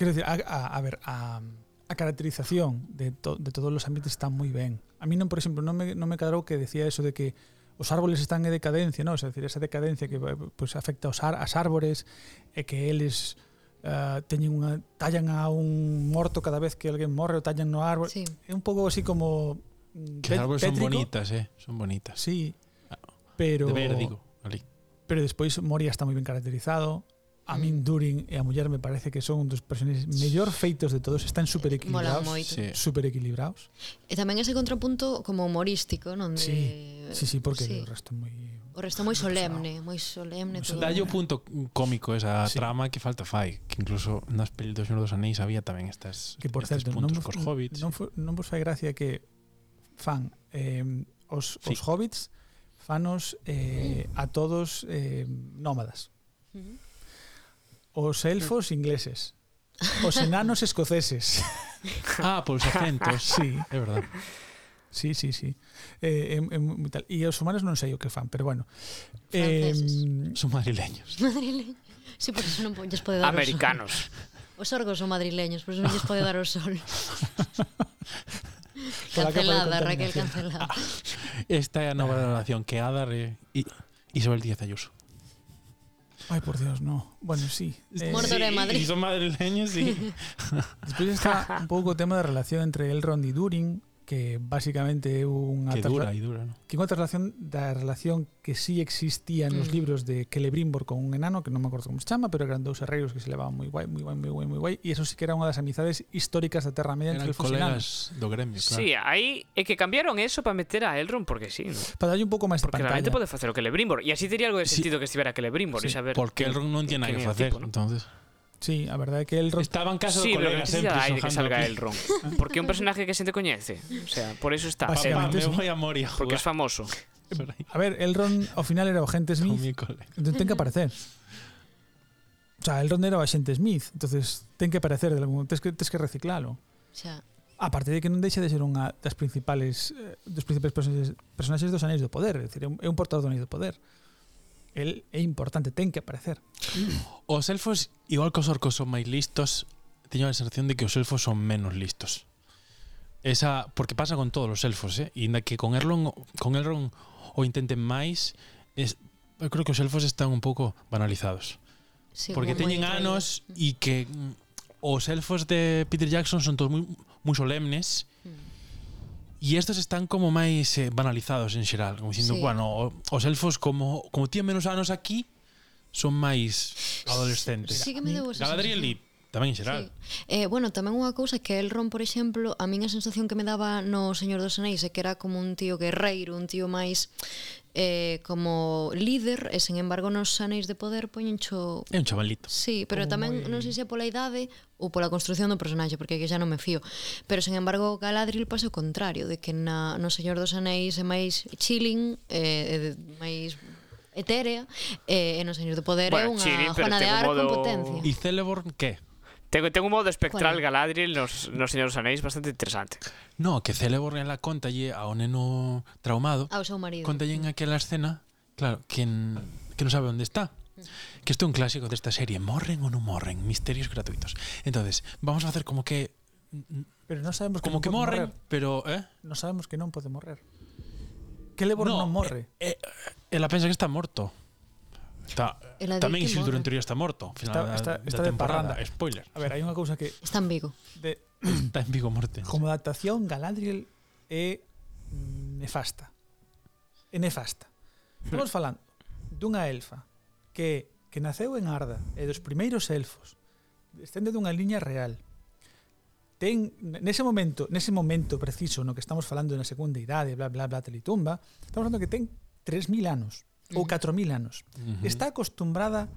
A: Quiero decir, a, a- a ver, a, a caracterización de, to- de todos los ambientes está moi ben. A mí, non, por exemplo, non me, non me cadrou que decía eso de que os árboles están en decadencia, ¿no? O sea, decir, esa decadencia que pues, afecta aos, ar, as árbores e que eles eh, teñen unha, tallan a un morto cada vez que alguén morre ou tallan no árbol.
C: Sí.
A: É un pouco así como mm,
B: Que as
A: pet-
B: árboles son
A: tétrico.
B: bonitas, eh, son bonitas.
A: Sí. Pero
B: De ver, digo, ali.
A: pero despois Moria está moi ben caracterizado. A
C: Mm.
A: min Durin e a muller me parece que son dos personaxes mellor feitos de todos, están super
C: Mola
A: equilibrados.
C: moito.
B: Sí.
A: Super equilibrados.
C: E tamén ese contrapunto como humorístico, non? De...
A: Sí. Sí, sí, porque o
C: Eh, Sí.
A: resto é moi
C: O resto moi solemne, moi solemne todo.
B: Dalle o punto cómico esa sí.
A: Sí.
B: trama que falta fai, que incluso nas pelis do Señor dos Anéis había tamén estas
A: que por
B: estes
A: certo, non
B: puntos
A: vos,
B: cos hobbits.
A: non, fo- non vos fai gracia que fan eh, os,
B: Sí.
A: os hobbits fanos eh, a todos eh, nómadas.
C: Ujú.
A: Os elfos ingleses. Os enanos escoceses.
B: Ah, pois acentos.
A: Sí.
B: É verdad.
A: Sí, sí, sí. Eh, é, é moi tal. E os humanos non sei o que fan, pero bueno.
C: Franceses.
B: Son madrileños.
C: Madrileños. Sí, por eso non po- lles pode dar
D: Americanos.
C: o sol. Os orgos son madrileños, por eso non lles pode dar o sol.
A: Pola capa de
C: cancelada, Raquel,
A: contaminación.
C: cancelada.
B: Esta é a
A: Ah.
B: nova relación que Adar e e Isabel Díaz Ayuso.
A: Ay, por Dios, no. Bueno, sí. Eh,
C: Mordor é Madrid.
B: e son madrileños, sí.
A: Despois está un pouco o tema da relación entre Elrond e Durin, que basicamente é unha
B: que dura
A: trasla-
B: e dura, non?
A: que é unha traslación da relación que sí existía nos
C: Mm.
A: libros de Celebrimbor con un enano, que non me acordo como se chama, pero eran dous herreiros que se levaban moi guai, moi guai, moi guai, moi guai, e eso sí que era unha das amizades históricas da Terra Media entre
B: Eran
A: elfos e enanos.
B: colegas do gremio, claro.
D: Sí, aí é que cambiaron eso para meter a Elrond porque sí, ¿no?
A: Para darlle un pouco máis de
D: Porque
A: pantalla.
D: realmente pode facer o que Celebrimbor E así tería algo de
B: Sí.
D: sentido que estivera Celebrimbor
A: Sí,
D: sí, e saber
B: Porque el
D: quen-
B: rock non
D: quen-
B: tiene nada que
D: quen é o
B: facer,
D: tipo, ¿no?
B: entonces.
A: Sí, a verdade é que Elrond
B: Estaba en casa
D: Sí,
B: do
D: pero
B: colega
D: que necesidade
B: sempre
D: hai de que
B: xogando
D: salga
B: aquí.
D: Elrond Porque é un personaje que se te coñece O sea, por eso está
A: Basi-
B: Papá,
A: Básicamente
B: me
A: sí.
B: voy a morir a
D: Porque
B: jugar
D: es famoso
B: por ahí
A: A ver, Elrond ao final era o agente
B: con
A: Smith,
B: mi colega.
A: entón ten que aparecer. O sea, Elrond era o agente Smith, entonces ten que aparecer de algún, tes que tes que reciclalo.
C: Xa.
A: Aparte de que non deixa de ser unha das principales eh, dos principais personaxes, personaxes dos Anéis do Poder, é dicir, é un, é un portador do Anéis do Poder. El é importante, ten que aparecer.
B: Os elfos, igual que os orcos son máis listos, teño a sensación de que os elfos son menos listos. Esa, porque pasa con todos os elfos, eh? Inda que con Elrond, con Elrond o intenten máis, es, eu creo que os elfos están un pouco banalizados.
C: Sí,
B: porque
C: como moi
B: teñen
C: traído.
B: anos e que mm, os elfos de Peter Jackson son todos moi moi solemnes.
C: Mm.
B: E estos están como máis eh, banalizados en xeral, como dicindo,
C: Sí.
B: sí. bueno, o- os elfos como como tienen menos anos aquí, son máis adolescentes.
C: Sí que me debo esa
B: Galadriel e
C: sensación.
B: tamén en xeral.
C: Sí. Eh, bueno, tamén unha cousa é que Elrond, por exemplo, a min a sensación que me daba no Señor dos Anéis é que era como un tío guerreiro, un tío máis eh, como líder, e sen embargo nos Anéis de Poder poñencho
B: É un chavalito.
C: Sí, pero
A: Como
C: tamén
A: moi-
C: non sei se é pola idade ou pola construción do personaxe, porque que xa non me fío. Pero sen embargo, Galadriel pasa o contrario, de que na no Señor dos Anéis é máis chilling, eh, é máis etérea, eh, e no Señor do Poder é unha
D: Bueno, chilling, pero
C: Juana de
D: ten un
C: Arco en
D: modo-
C: potencia.
B: E Celeborn que?
D: Tengo, tengo un modo espectral
C: Bueno.
D: Galadriel nos, nos señores dos anéis bastante interesante.
B: No, que Celeborn ela contalle ao neno traumado,
C: Ao seu marido.
B: contalle en aquela escena, claro, que, n- que non sabe onde está. Que isto é un clásico desta serie, morren ou non morren, misterios gratuitos. Entonces, vamos a facer como que
A: Pero no sabemos
B: como
A: no
B: que
A: puede
B: morren,
A: morrer.
B: pero eh
A: No sabemos que no puede morrer. Que Lebor no, morre.
B: Eh, eh, ela pensa que está morto. Está,
C: Ela di
B: tamén
C: que
B: Isildur en
C: morre.
B: teoría está morto. Final
A: Está-
B: da,
A: está-
B: da
A: está de
B: temporada.
A: parranda.
B: Spoiler.
A: A ver, hay una cosa que
C: Está en Vigo.
A: de-
B: Está en Vigo Morte.
A: como adaptación Galadriel é mm, nefasta. É nefasta.
B: Hmm.
A: Estamos falando dunha elfa que que naceu en Arda e dos primeiros elfos. Descende dunha liña real. Ten nese momento, nese momento preciso no que estamos falando na segunda idade, bla bla bla telitumba, estamos falando que ten 3000 anos ou 4000 anos.
B: Mm. Ujú.
A: Está acostumbrada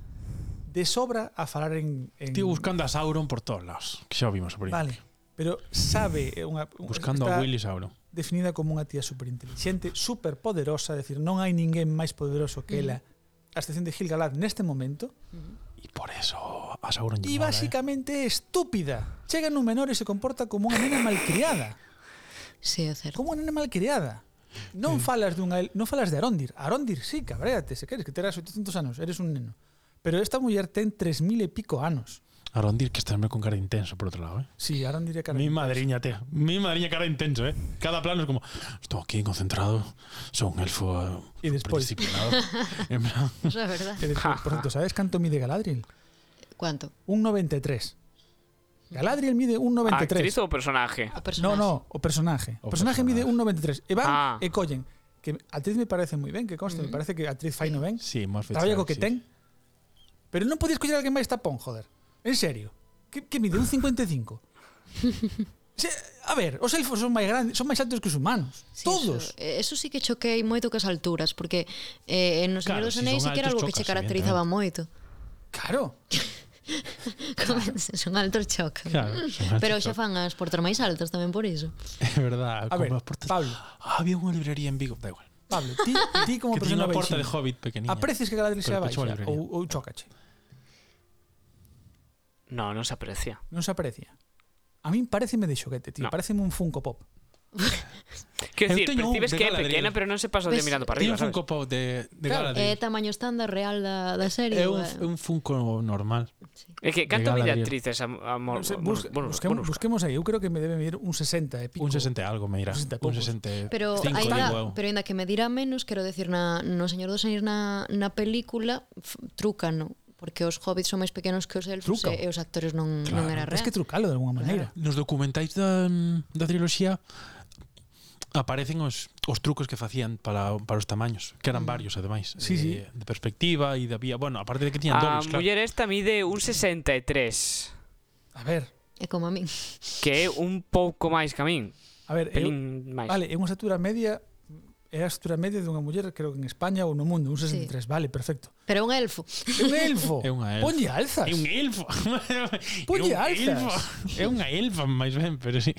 A: de sobra a falar en, en
B: Tío buscando a Sauron por todos lados, que xa o vimos. Por
A: Vale. Pero sabe, é unha un-
B: Buscando a
A: está
B: Willy Sauron.
A: definida como unha tía superinteligente, superpoderosa, é dicir, non hai ninguén máis poderoso que ela, a excepción de Gil-galad neste momento,
B: Y por eso a Sauron
A: e
B: lle mola, eh.
A: basicamente é estúpida. Chega nun menor e se comporta como unha nena malcriada,
C: Sí, é certo.
A: como unha nena malcriada. Non falas dunha el- non falas de Arondir. Arondir sí, cabréate, se queres que terás 800 anos, eres un neno. Pero esta muller ten 3000 e pico anos.
B: Arondir que estarme con cara de intenso por outro lado, eh.
A: Sí, Arondir é cara.
B: Mi madriña, te. Mi madriña cara de intenso, eh. Cada plano es como, estou aquí concentrado, son un elfo eh,
A: E despois-
B: disciplinado. en plan,
C: Eso é verdade.
A: E despois, Por certo, sabes canto mide Galadriel?
C: Cuánto?
A: Un 93. Galadriel mide un 93.
D: ¿Actriz o personaje?
C: A personaxe.
A: No, no, o personaje.
B: O
A: O, personaje, mide un 93. E van
D: Ah.
A: e collen. Que actriz me parece moi ben, que conste, me parece que actriz fai no ben.
B: sí, máis fechado.
A: Traballa co que
B: sí.
A: ten. Pero non podías coller alguén máis tapón, joder. En serio. Que, que mide un 55. Se, a ver, os elfos son máis grandes, son máis altos que os humanos.
C: Sí,
A: Todos.
C: Eso, eh, eso sí que choquei moito que as alturas, porque eh, en Os Señor
B: Claro, si
C: dos Anéis
B: son
C: sí que era
B: altos,
C: algo que che
B: chocas,
C: caracterizaba moito.
A: Claro.
C: Como son altos chocan.
B: Claro,
A: Mm.
B: son altos
C: Pero xa
B: chocan.
C: fan as portas máis altas tamén por iso.
B: É verdad,
A: A
B: como
A: ver,
B: as portas-
A: Pablo.
B: Ah, había unha librería en Vigo, da igual.
A: Pablo, ti, ti como
B: Que tiña
A: persona
B: unha porta de
A: baixinha,
B: Hobbit pequeniña.
A: aprecias que Galadriel
B: Pero
A: sea
B: pecho
A: baixa
B: a librería.
A: ou, ou chócache.
D: No, no se aprecia.
A: Non se aprecia. A min pareceme de xoguete, tío.
D: No.
A: Pareceme un Funko Pop.
D: Quiero
B: Eu
D: decir,
B: teño un
D: percibes
B: de
D: que é
B: Galadriel.
D: pequena, pero non se pasa de
C: Ves,
D: mirando para
B: Tiña un
D: arriba, sabes?
B: Funko Pop de, de
A: Claro,
B: Galadriel.
C: É tamaño estándar real da, da serie.
B: É un,
C: eh.
B: un Funko normal.
D: É que
B: de
D: canto mide
B: Galadriel.
D: actrices, am- amor.
A: Non sei,
D: bueno,
A: bus-
D: bueno,
A: busquemos,
D: bueno,
A: busquemos aí, eu creo que me debe medir un 60 e pico.
B: Un 60 e algo, me dirá.
A: Un
B: Un
A: 60 e poucos.
B: 60
C: Pero
B: cinco, digo, eu.
C: ainda, pero ainda que me dirá menos, quero decir na no Señor dos Anéis na na película f- trúcano, porque os hobbits son máis pequenos que os elfos
A: Truca.
C: e, e os actores non
B: Claro,
C: non era real.
A: Tens que trucalo de alguma maneira.
B: Nos documentais da, da triloxía aparecen os, os trucos que facían para, para os tamaños, que eran varios ademais, de,
A: Sí, sí.
B: de perspectiva e de vía, bueno, aparte de que tiñan
D: A
B: dobles, claro.
D: muller esta mide un 63,
A: A ver,
C: É como a min.
D: que é un pouco máis que a min,
A: a ver, eu,
D: pelín máis.
A: vale, é unha estatura media é a estatura media dunha muller, creo que en España ou no mundo, un 63, vale, perfecto.
C: Pero é un elfo.
A: É un elfo.
B: É unha elfa.
A: Ponlle alzas.
B: É un elfo.
A: Ponlle
B: é un
A: alzas.
B: elfo. É unha elfa, máis ben, pero sí.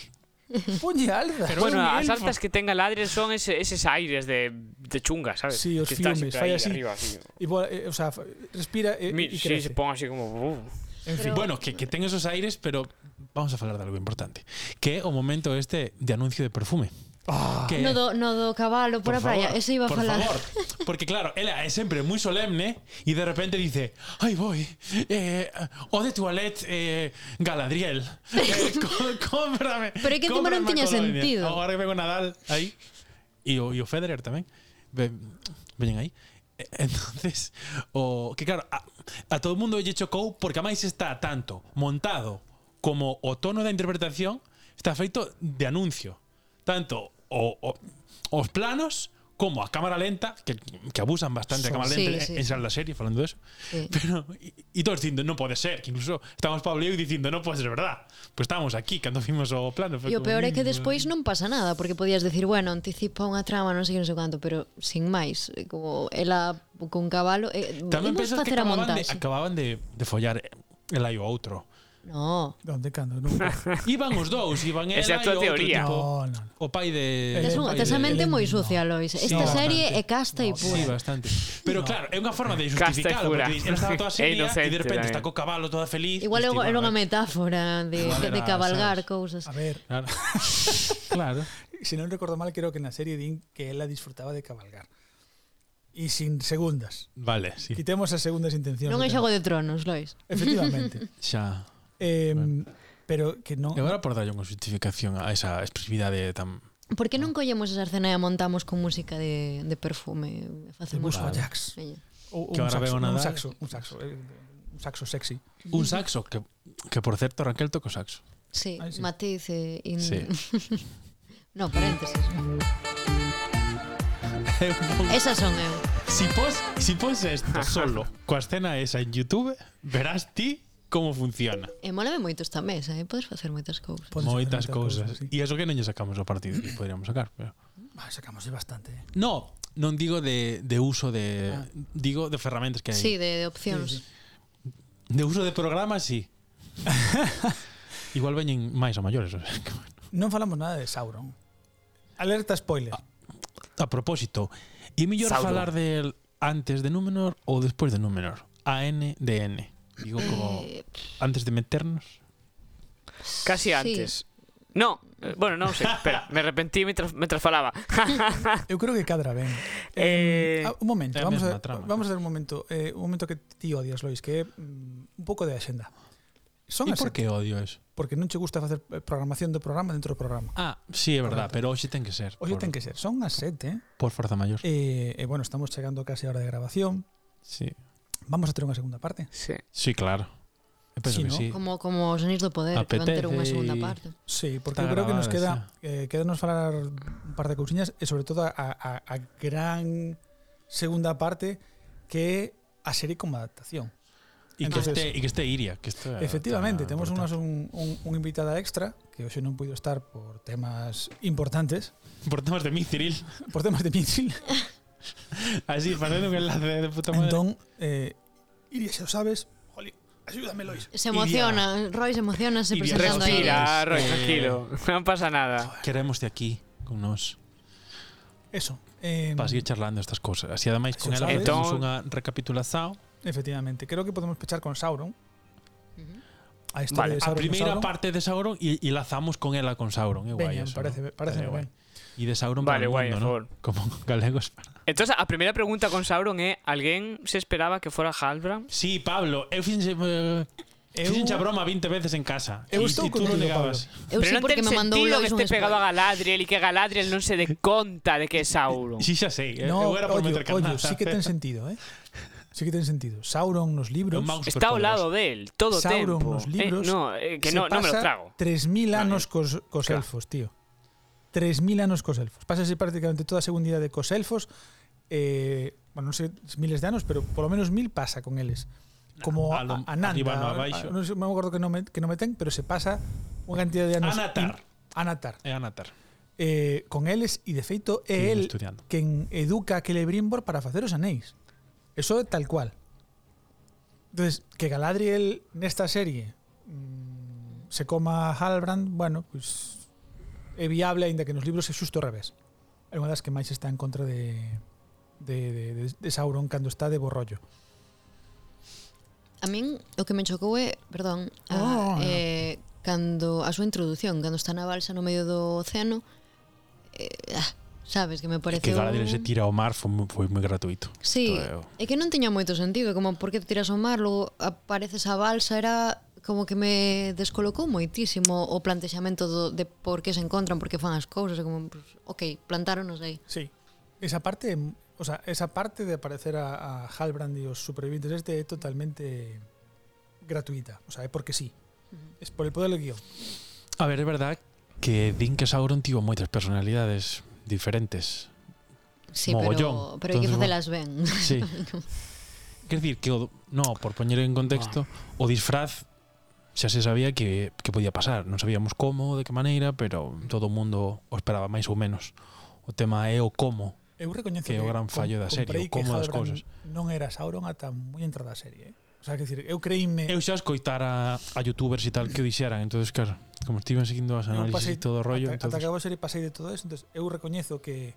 A: Ponlle alzas.
B: Pero
D: Bueno,
B: é un
D: as
B: elfo.
D: altas que ten Galadriel son ese, eses aires de, de chunga, sabes?
A: Sí, os
D: que está
A: fiumes,
D: sempre
A: fai
D: aí
A: así.
D: Arriba, así.
A: E boa, eh, o sea, fa- respira e,
D: Mi,
A: e
D: sí,
A: crece.
D: se pon así como... Uh.
A: en fin,
C: Pero-
B: Bueno, que, que ten esos aires, pero vamos a falar de algo importante. Que é o momento este de anuncio de perfume.
A: Ah,
B: que,
C: No do, no do cabalo por, a praia,
B: favor,
C: ese iba a
B: por
C: falar.
B: favor. Porque claro, ela é sempre moi solemne e de repente dice, "Ai, voy, eh, o de toilet eh, Galadriel. Eh, có- cómprame."
C: Pero é que encima
B: cómprame
C: non
B: a
C: tiña
B: colonia."
C: sentido.
B: Agora que veo Nadal aí e o, e o Federer tamén. Ve, veñen aí. E- Entonces, o que claro, a, a todo mundo lle chocou porque máis está tanto montado como o tono da interpretación está feito de anuncio. Tanto o, o, os planos como a cámara lenta, que, que abusan bastante a
C: Son-
B: cámara
C: sí,
B: lenta
C: sí,
B: en, en
C: sí.
B: la serie, falando de eso.
C: Sí.
B: Pero, y, y todos dicindo, no pode ser, que incluso estábamos Pablo e eu dicindo, no pode ser verdad. Pues estábamos aquí cando vimos o plano.
C: E o peor é que despois non pasa nada, porque podías decir, bueno, anticipa unha trama, non sei que non sei canto, pero sin máis, eh, como ela con cabalo, eh,
B: Tamén
C: imos
B: pensas que
C: facer a
B: acababan de,
C: montaxe.
B: acababan de, de follar el aí o outro.
C: No.
A: Onde cando, nunca.
B: Iban os dous, iban ela e
D: Esa é a tua
B: outro
D: teoría.
B: tipo.
A: No, no, no.
B: O pai de...
A: Tes
C: Tes,
B: o
A: un-
C: un,
B: pai de-
C: tes a
A: mente
C: mente
A: no.
C: moi sucia, Lois. Esta
B: bastante.
C: serie é casta e pura.
B: Sí, bastante. Pero claro, é unha forma de
D: Casta e
B: justificalo,
D: pura.
B: porque ela estaba toda
D: É
B: seria e
D: inocente
B: de repente
D: tamén.
B: está co cabalo toda feliz.
C: Igual é
B: diste,
C: unha- era
B: "Bueno,
C: unha metáfora de,
B: Igual
C: de, de
B: era,
C: cabalgar
B: sabes?
C: cousas.
A: A ver,
B: Claro. claro.
A: si non recordo mal, creo que na serie din que ela disfrutaba de cabalgar. E sin segundas.
B: Vale, sí.
A: Quitemos as segundas intencións.
C: Non
A: do
C: é
A: tema.
C: xogo de tronos, Lois.
A: Efectivamente.
B: Xa.
A: eh,
B: Bueno.
A: Pero que non...
B: E agora por darlle unha justificación a esa expresividade tan...
C: Por que non collemos esa escena e a montamos con música de, de perfume? E Facemos
A: Busco a
B: Vale.
A: Jax.
C: Veña.
A: Ou, ou
B: Que
A: un,
B: agora
A: saxo,
B: veo
A: non, un
B: nadar.
A: saxo, un saxo, eh, un saxo sexy.
B: Un saxo, que, que por certo Raquel toca o saxo.
C: Sí,
A: Ai, sí.
C: matiz e... In...
B: Sí.
C: no, paréntesis.
B: Eu non-
C: Esas son eh, eu.
B: Si pos, si pos esto solo coa escena esa en Youtube, verás ti como funciona.
C: E eh, mólame moito esta mesa, eh? podes facer moitas cousas.
A: Podes
B: Moitas
A: hacer moitas
B: cousas.
A: cousas, sí.
B: E eso que non lle sacamos ao partido, que podríamos sacar, pero...
A: Ah, sacamos de bastante. eh.
B: No, non digo de, de uso de...
A: Ah.
B: Digo de ferramentas que hai.
C: Sí, de, de
A: Sí,
C: opcións.
A: sí.
B: De uso de programas, sí. Igual veñen máis a maiores. o sea que, bueno.
A: Non falamos nada de Sauron. Alerta spoiler.
B: Ah. A propósito, é mellor
D: Sauron.
B: falar del antes de Númenor ou despois de Númenor? A N de N. Digo como
C: Eh,
B: antes de meternos.
C: Sí.
D: Casi antes. No, eh, bueno, non sei, espera, me arrepentí mientras, mientras falaba.
A: Eu creo que cadra ben.
D: Eh,
A: ah, un momento,
B: é a
A: vamos a,
B: mesma trama.
A: vamos a dar un momento, eh, un momento que ti odias, Lois, que é mm, un pouco de axenda. Son
B: E
A: as
B: por que
A: sete,
B: odio eso?
A: porque non che gusta facer eh, programación do programa dentro do programa.
B: Ah, sí, é verdad,
A: Correcto.
B: pero hoxe ten que ser.
A: Hoxe
B: por,
A: ten que ser, son as sete,
B: Por forza maior.
A: eh, e bueno, estamos chegando casi a hora de grabación.
B: Sí.
A: Vamos a ter unha segunda parte.
D: sí.
B: sí, claro. Eu penso
A: Sí,
B: que
A: ¿no?
B: sí.
C: Como, como os anéis do poder, que van ter unha
B: Apetece
C: segunda
B: y-
C: parte.
A: Sí, porque
B: Está
A: eu creo que nos
B: grabada,
A: queda eh, quedarnos falar un par de cousiñas e sobre todo a, a, a gran segunda parte que é a serie como adaptación.
B: E que,
A: Entonces-
B: este, e que este Iria. Que este,
A: Efectivamente,
B: está
A: temos unhas,
B: importante.
A: un, un, un invitada extra que hoxe non puido estar por temas importantes,
B: Por temas de mí, Ciril.
A: por temas de Mitchell.
B: Así, facendo un enlace de puta madre.
A: entón, eh, Iria, se o sabes, jolín, ayúdame, Lois.
C: Se emociona, Roy se emociona se
B: Iria.
C: presentando aí.
D: Respira,
B: ahí.
D: Roy,
B: Eh,
D: tranquilo. Non pasa nada.
B: Queremos de aquí con nos
A: Eso. Eh,
B: para seguir charlando estas cosas. Así ademais con
A: Eso
B: ela
A: sabes.
B: facemos
D: Entón-
B: unha recapitulación.
A: efectivamente, creo que podemos pechar con Sauron.
C: Ujú.
A: A historia
D: Vale,
A: de
B: A
A: Sauron con
B: primeira
A: Sauron.
B: parte de Sauron e, e lazamos con ela con Sauron, é guai
A: Veña,
B: eso. ¿no?
A: parece- parece
B: Estaría
A: ben.
B: guai. E de Sauron para o
D: Vale, guai,
B: mundo,
D: a favor.
B: ¿no? Como galegos.
D: Entonces, a primeira pregunta con Sauron é alguén se esperaba que fora Halbrand?
B: Sí, Pablo, eu fixen eh,
A: Eu-
B: fixenche a broma 20 veces en casa.
A: Eu
B: E-
A: estou
B: e tú non
A: contigo,
B: negabas.
C: Eu
D: Pero
C: sí
D: non
C: porque
D: ten
C: me mandou
D: sentido que
C: Lois un
D: este pegado a
C: spoiler.
D: Galadriel e que Galadriel non se dé conta de que é Sauron.
B: Sí, xa sei, eu
A: No,
B: era por
A: ollo,
B: meter
A: ollo, sí que ten sentido, eh? Sí que ten sentido. Sauron nos libros.
D: Está ao lado del todo o
A: Sauron
D: tempo.
A: nos libros
D: eh, no, eh,
A: se
D: que no, non me lo
A: pasa
D: trago.
A: 3.000
D: Vale.
A: anos cos, cos
D: Claro.
A: elfos, tío. 3.000 anos cos elfos. Pásase prácticamente toda a segunda de cos elfos. Eh, bueno, non sei se miles de anos, pero polo menos mil pasa con eles. Como
B: a
A: a,
B: lo-
A: a, Nanda.
B: arriba, no,
A: a-
B: abaixo.
A: a- non sei, me acordo que non me, que non me ten, pero se pasa unha cantidad de anos.
B: Anatar.
A: in- Anatar.
B: É Anatar.
A: Eh, con eles, e de feito,
B: Siguen
A: é Eh, el
B: estudiando.
A: quen educa a Celebrimbor para facer os anéis. Eso é tal cual. Entonces, que Galadriel nesta serie mm, se coma a Halbrand, bueno, pues, é viable, aínda que nos libros é xusto ao revés. É unha das que máis está en contra de de, de, de, de Sauron cando está de borrollo.
C: A min o que me chocou é, perdón,
A: Oh.
C: a, eh, cando a súa introdución, cando está na balsa no medio do océano, eh, ah, sabes que me
B: É
C: parece
B: Que Galadriel se tira ao mar foi, moi- foi moi gratuito.
C: Sí,
B: Isto é o-
C: é que non teña moito sentido, como por que te tiras ao mar, logo apareces a balsa, era como que me descolocou moitísimo o plantexamento do, de por que se encontran, por que fan as cousas, e como, pues, ok, plantáronos aí.
A: Sí. Esa parte, o sea, esa parte de aparecer a, a Halbrand y los supervivientes este es totalmente gratuita. O sea, es porque sí. Es por el poder del guión.
B: A ver, é verdad que din que Sauron tivo moitas personalidades diferentes.
C: Sí,
B: Mogollón.
C: pero, pero hai que
B: Entonces,
C: facelas ben.
B: Sí. Quer dicir que o, no, por poñer en contexto, o disfraz xa se sabía que, que podía pasar, non sabíamos como, de que maneira, pero todo o mundo o esperaba máis ou menos. O tema é o como.
A: Eu recoñezo
B: Que é o gran fallo da serie, o
A: comprei
B: como das cousas.
A: Halbrand Non era Sauron ata moi entrada a serie. eh. O sea, que decir, eu creíme...
B: Eu xa escoitara a youtubers e tal que o dixeran, entonces claro, como estiven seguindo as
A: eu
B: análisis e todo o rollo,
A: ata, ata
B: entonces,
A: acabo a serie pasei de todo eso, entonces eu recoñezo que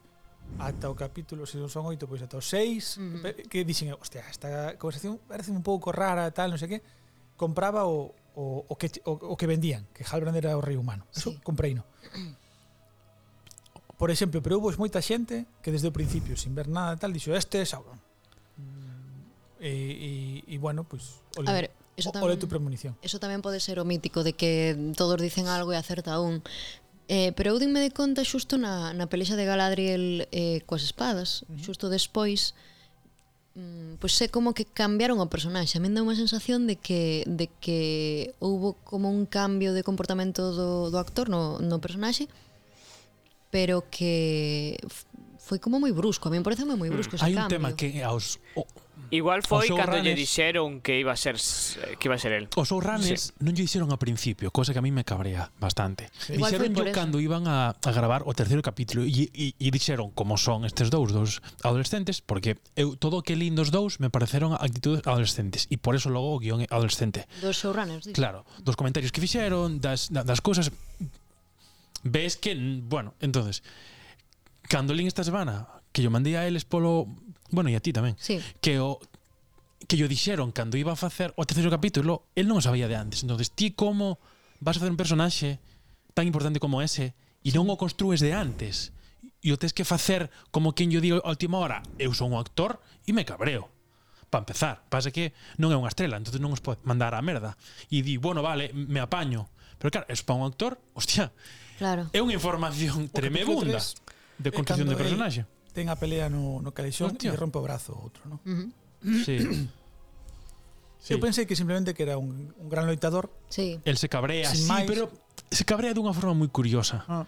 A: ata o capítulo, se non son oito, pois ata os seis,
C: Mm.
A: mm. que dixen, eu, hostia, esta conversación parece un pouco rara, tal, non sei que, compraba o, o, o, que, o, o que vendían, que Halbrand era o rei humano. Eso
C: Sí.
A: comprei no. Por exemplo, pero houve moita xente que desde o principio, sin ver nada e tal, dixo, este é Sauron. Mm, E, e, e bueno, pois, pues, ole,
C: A ver, eso
A: o- ole
C: tamén-
A: tu premonición.
C: Eso tamén pode ser o mítico de que todos dicen algo e acerta un. Eh, pero eu dime de conta xusto na, na pelexa de Galadriel eh, coas espadas, xusto despois, mm, pois é como que cambiaron o personaxe. A min dá unha sensación de que de que houbo como un cambio de comportamento do, do actor no, no personaxe, pero que f- foi como moi brusco. A min parece moi brusco
B: Mm.
C: ese
B: hai un
C: cambio.
B: tema que aos o-
D: Igual foi
B: Os
D: cando lle
B: showrunners-
D: dixeron que iba a ser s- que iba a ser el.
B: Os showrunners non lle hicieron ao principio, cosa que a mí me cabrea bastante.
C: Igual
B: Dixeron
C: foi
B: yo
C: por eso.
B: cando iban a, a gravar o terceiro capítulo e, e, e dixeron como son estes dous dos adolescentes, porque eu todo o que lindos dous me pareceron actitudes adolescentes e por eso logo o guión é adolescente.
C: Dos showrunners, dis.
B: Claro, dos comentarios que fixeron, das, da- das cousas ves que, mm, bueno, entonces cando lín esta semana que yo mandei a eles polo bueno, e a ti tamén
C: Sí.
B: que o que yo dixeron cando iba a facer o terceiro capítulo, el non o sabía de antes. Entonces, ti como vas a facer un personaxe tan importante como ese e non o construes de antes? E o tes que facer como quen yo digo a última hora, eu son un actor e me cabreo. Para empezar, pasa que non é unha estrela, entonces non os pode mandar a merda. E di, bueno, vale, me apaño. Pero claro, es para un actor, hostia,
C: Claro.
B: é unha información tremebunda
A: tres
B: de construcción de
A: cando el-
B: personaxe.
A: ten a pelea no, no calexón
B: Hostia.
A: e rompe o brazo o outro, ¿no?
B: Eh,
C: Ujú.
B: Sí.
A: Eu pensei que simplemente que era un, un gran loitador.
C: Sí.
B: El se cabrea,
A: Sin
B: sí,
A: máis.
B: pero se cabrea dunha forma moi curiosa.
A: Ah.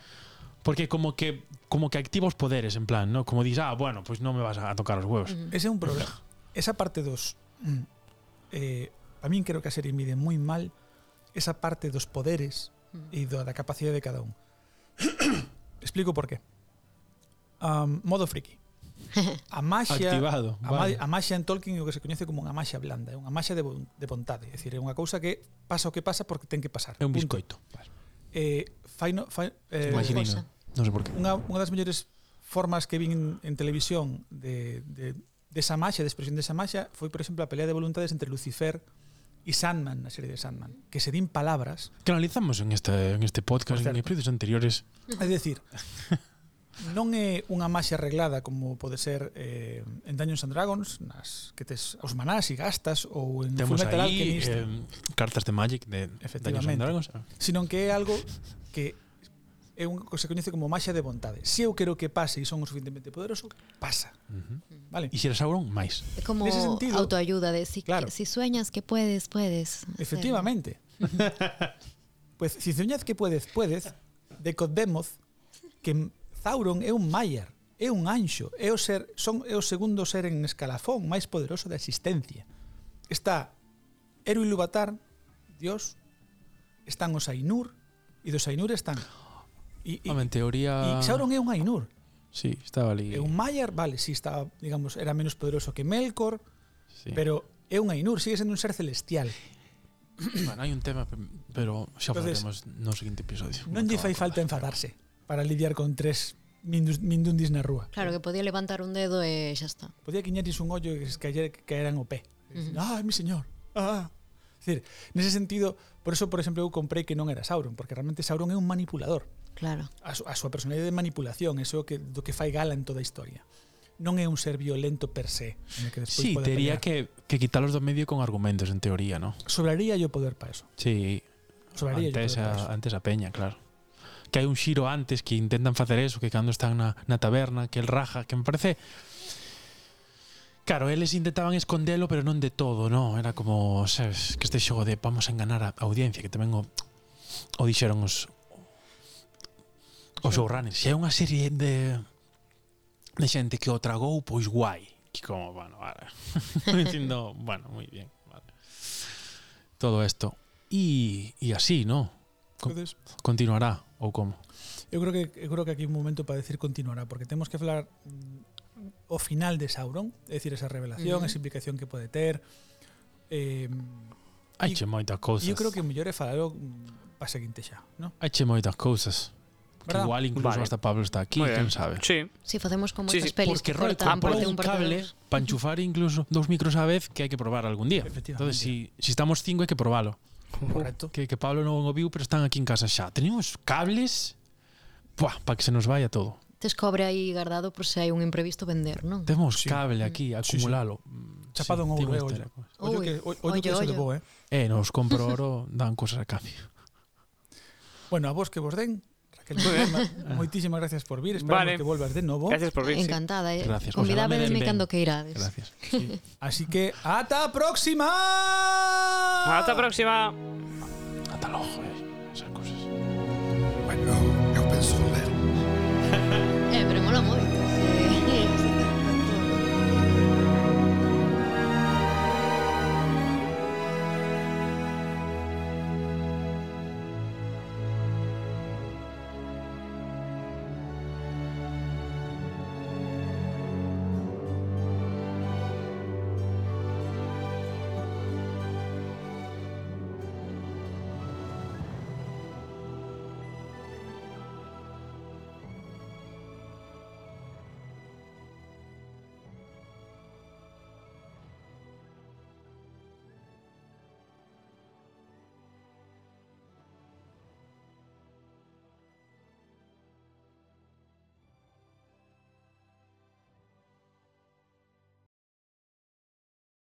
B: Porque como que como que activa os poderes, en plan, ¿no? Como dis, ah, bueno, pois pues non me vas a tocar os huevos.
C: Ujú.
A: Ese é un problema. Esa parte dos mm, eh, a min creo que a serie mide moi mal esa parte dos poderes
C: Mm.
A: e do, da capacidade de cada un. Explico por qué. Um, modo friki. A maxia
B: Activado.
A: A,
B: vale.
A: ma- a maxia en Tolkien é o que se coñece como unha maxia blanda, é unha maxia de, von- de vontade, é dicir, é unha cousa que pasa o que pasa porque ten que pasar.
B: É un
A: Punto.
B: biscoito.
A: Eh, faino, fa, eh,
C: Imagina-
B: Imaginino. Non sei por qué.
A: unha, unha das mellores formas que vin en, en televisión de, de, de esa maxia, de expresión desa maxia, foi, por exemplo, a pelea de voluntades entre Lucifer e Sandman, na serie de Sandman, que se din palabras,
B: Que analizamos en este en este podcast
A: Por
B: en
A: Pois certo.
B: episodios anteriores.
A: é dicir, non é unha maxia arreglada como pode ser eh, en Dungeons and Dragons, nas que tes os manás e gastas, ou en
B: Temos
A: Fullmetal
B: aí
A: Alchemist,
B: eh, cartas de Magic de Dungeons
A: Efectivamente.
B: and Dragons.
A: sino que é algo que é un que se coñece como maxia de vontade. Se eu quero que pase e son o suficientemente poderoso, pasa,
B: Uh -huh.
A: vale?
B: E se era Sauron, máis.
C: É como
A: Nese sentido-
C: autoayuda de si,
A: Claro.
C: si sueñas que puedes, puedes. hacerlo.
A: Efectivamente. pues si soñad que puedes, puedes, decodemos que Sauron é un Maiar, é un anxo, é o ser, son é o segundo ser en escalafón máis poderoso da existencia. Está Eru Ilúvatar, Dios, están os Ainur, e dos Ainur están e, e,
B: Home, en teoría...
A: e Sauron é un Ainur,
B: Sí, estaba ali.
A: é un Maiar, vale, si estaba, digamos, era menos poderoso que Melkor,
B: Sí.
A: pero é un Ainur, sigue sendo un ser celestial.
B: bueno, hai un tema, pe- pero xa
A: Entonces,
B: falaremos no seguinte episodio.
A: Non lle fai falta enfadarse para lidiar con tres mindus- mindundis na rúa.
C: Claro, que podía levantar un dedo e xa está.
A: Podía quiñetis un ollo e que ayer caeran o pé.
C: Ujú.
A: Ah, mi señor. Ah. Es decir, nese sentido, por eso, por exemplo, eu comprei que non era Sauron, porque realmente Sauron é un manipulador.
C: Claro.
A: A, su, a súa personalidade de manipulación, eso que, do que fai gala en toda a historia. Non é un ser violento per se. en el Que despois
B: Sí,
A: pode
B: tería
A: pelear.
B: que, que quitalos do medio con argumentos, en teoría, ¿no?
A: Sobraría yo poder para eso.
B: Sí,
A: Sobraría yo
B: antes
A: poder para
B: a,
A: eso.
B: antes a peña, claro. Que hai un xiro antes que intentan facer eso, que cando están na, na taberna, que el raja, que me parece... Claro, eles intentaban escondelo, pero non de todo, no Era como, sabes, que este xogo de vamos a enganar a a audiencia, que tamén o, o dixeron os os showrunners. Se hai unha serie de de xente que o tragou, pois guai. Que como, bueno, vale. Dicindo, bueno, moi bien, vale. Todo isto. E, e así, ¿no? co-
A: Entonces,
B: Continuará, ou como?
A: Eu creo que eu creo que aquí hai un momento para decir continuará, porque temos que falar mm, o final de Sauron, é dicir, esa revelación,
C: Ujú.
A: esa implicación que pode ter, Eh,
B: Hai che moitas cousas.
A: e eu creo que o mellor é falalo mm, para seguinte xa, ¿no?
B: Hai che moitas cousas. Que
A: Verdad?
B: igual incluso
D: Vale.
B: hasta Pablo está aquí,
D: Muy
B: quién
D: bien.
B: sabe.
D: Sí,
C: Si facemos como
D: Sí,
C: esas
D: sí,
C: pelis
B: Porque
C: que
B: Roy
C: cortan
B: compró
C: parte
B: un
C: un parte
B: cable
C: dos.
B: para enchufar incluso dos micros a vez que hay que probar algún día. Entonces, si, si estamos cinco hay que probarlo.
A: Correcto.
B: Que, que Pablo non o viu, pero están aquí en casa xa. Tenemos cables para que se nos vaya todo.
C: Tes cobre aí guardado por se hai un imprevisto vender, non?
B: Temos
A: Sí.
B: cable aquí, acumulalo. Mm,
A: Chapado en ouro,
B: temos
A: eh,
B: esta
A: ollo.
B: cosa.
A: Ollo
C: Uy,
A: que, o- ollo que
C: ollo,
A: se
C: ollo.
A: levou, eh?
B: Eh, nos compro oro, dan cosas a cambio.
A: Bueno, a vos que vos den. Raquel, moitísimas- moitísimas gracias por vir. Esperamos
D: Vale.
A: que volvas de novo.
D: gracias por venir. sí.
C: Encantada, eh.
B: Gracias, ojalá me
C: Convidádeme
B: den
C: cando
B: ben.
C: queirades.
B: Gracias.
A: Así que, ¡ata próxima!
D: Hasta la próxima.
C: Eh,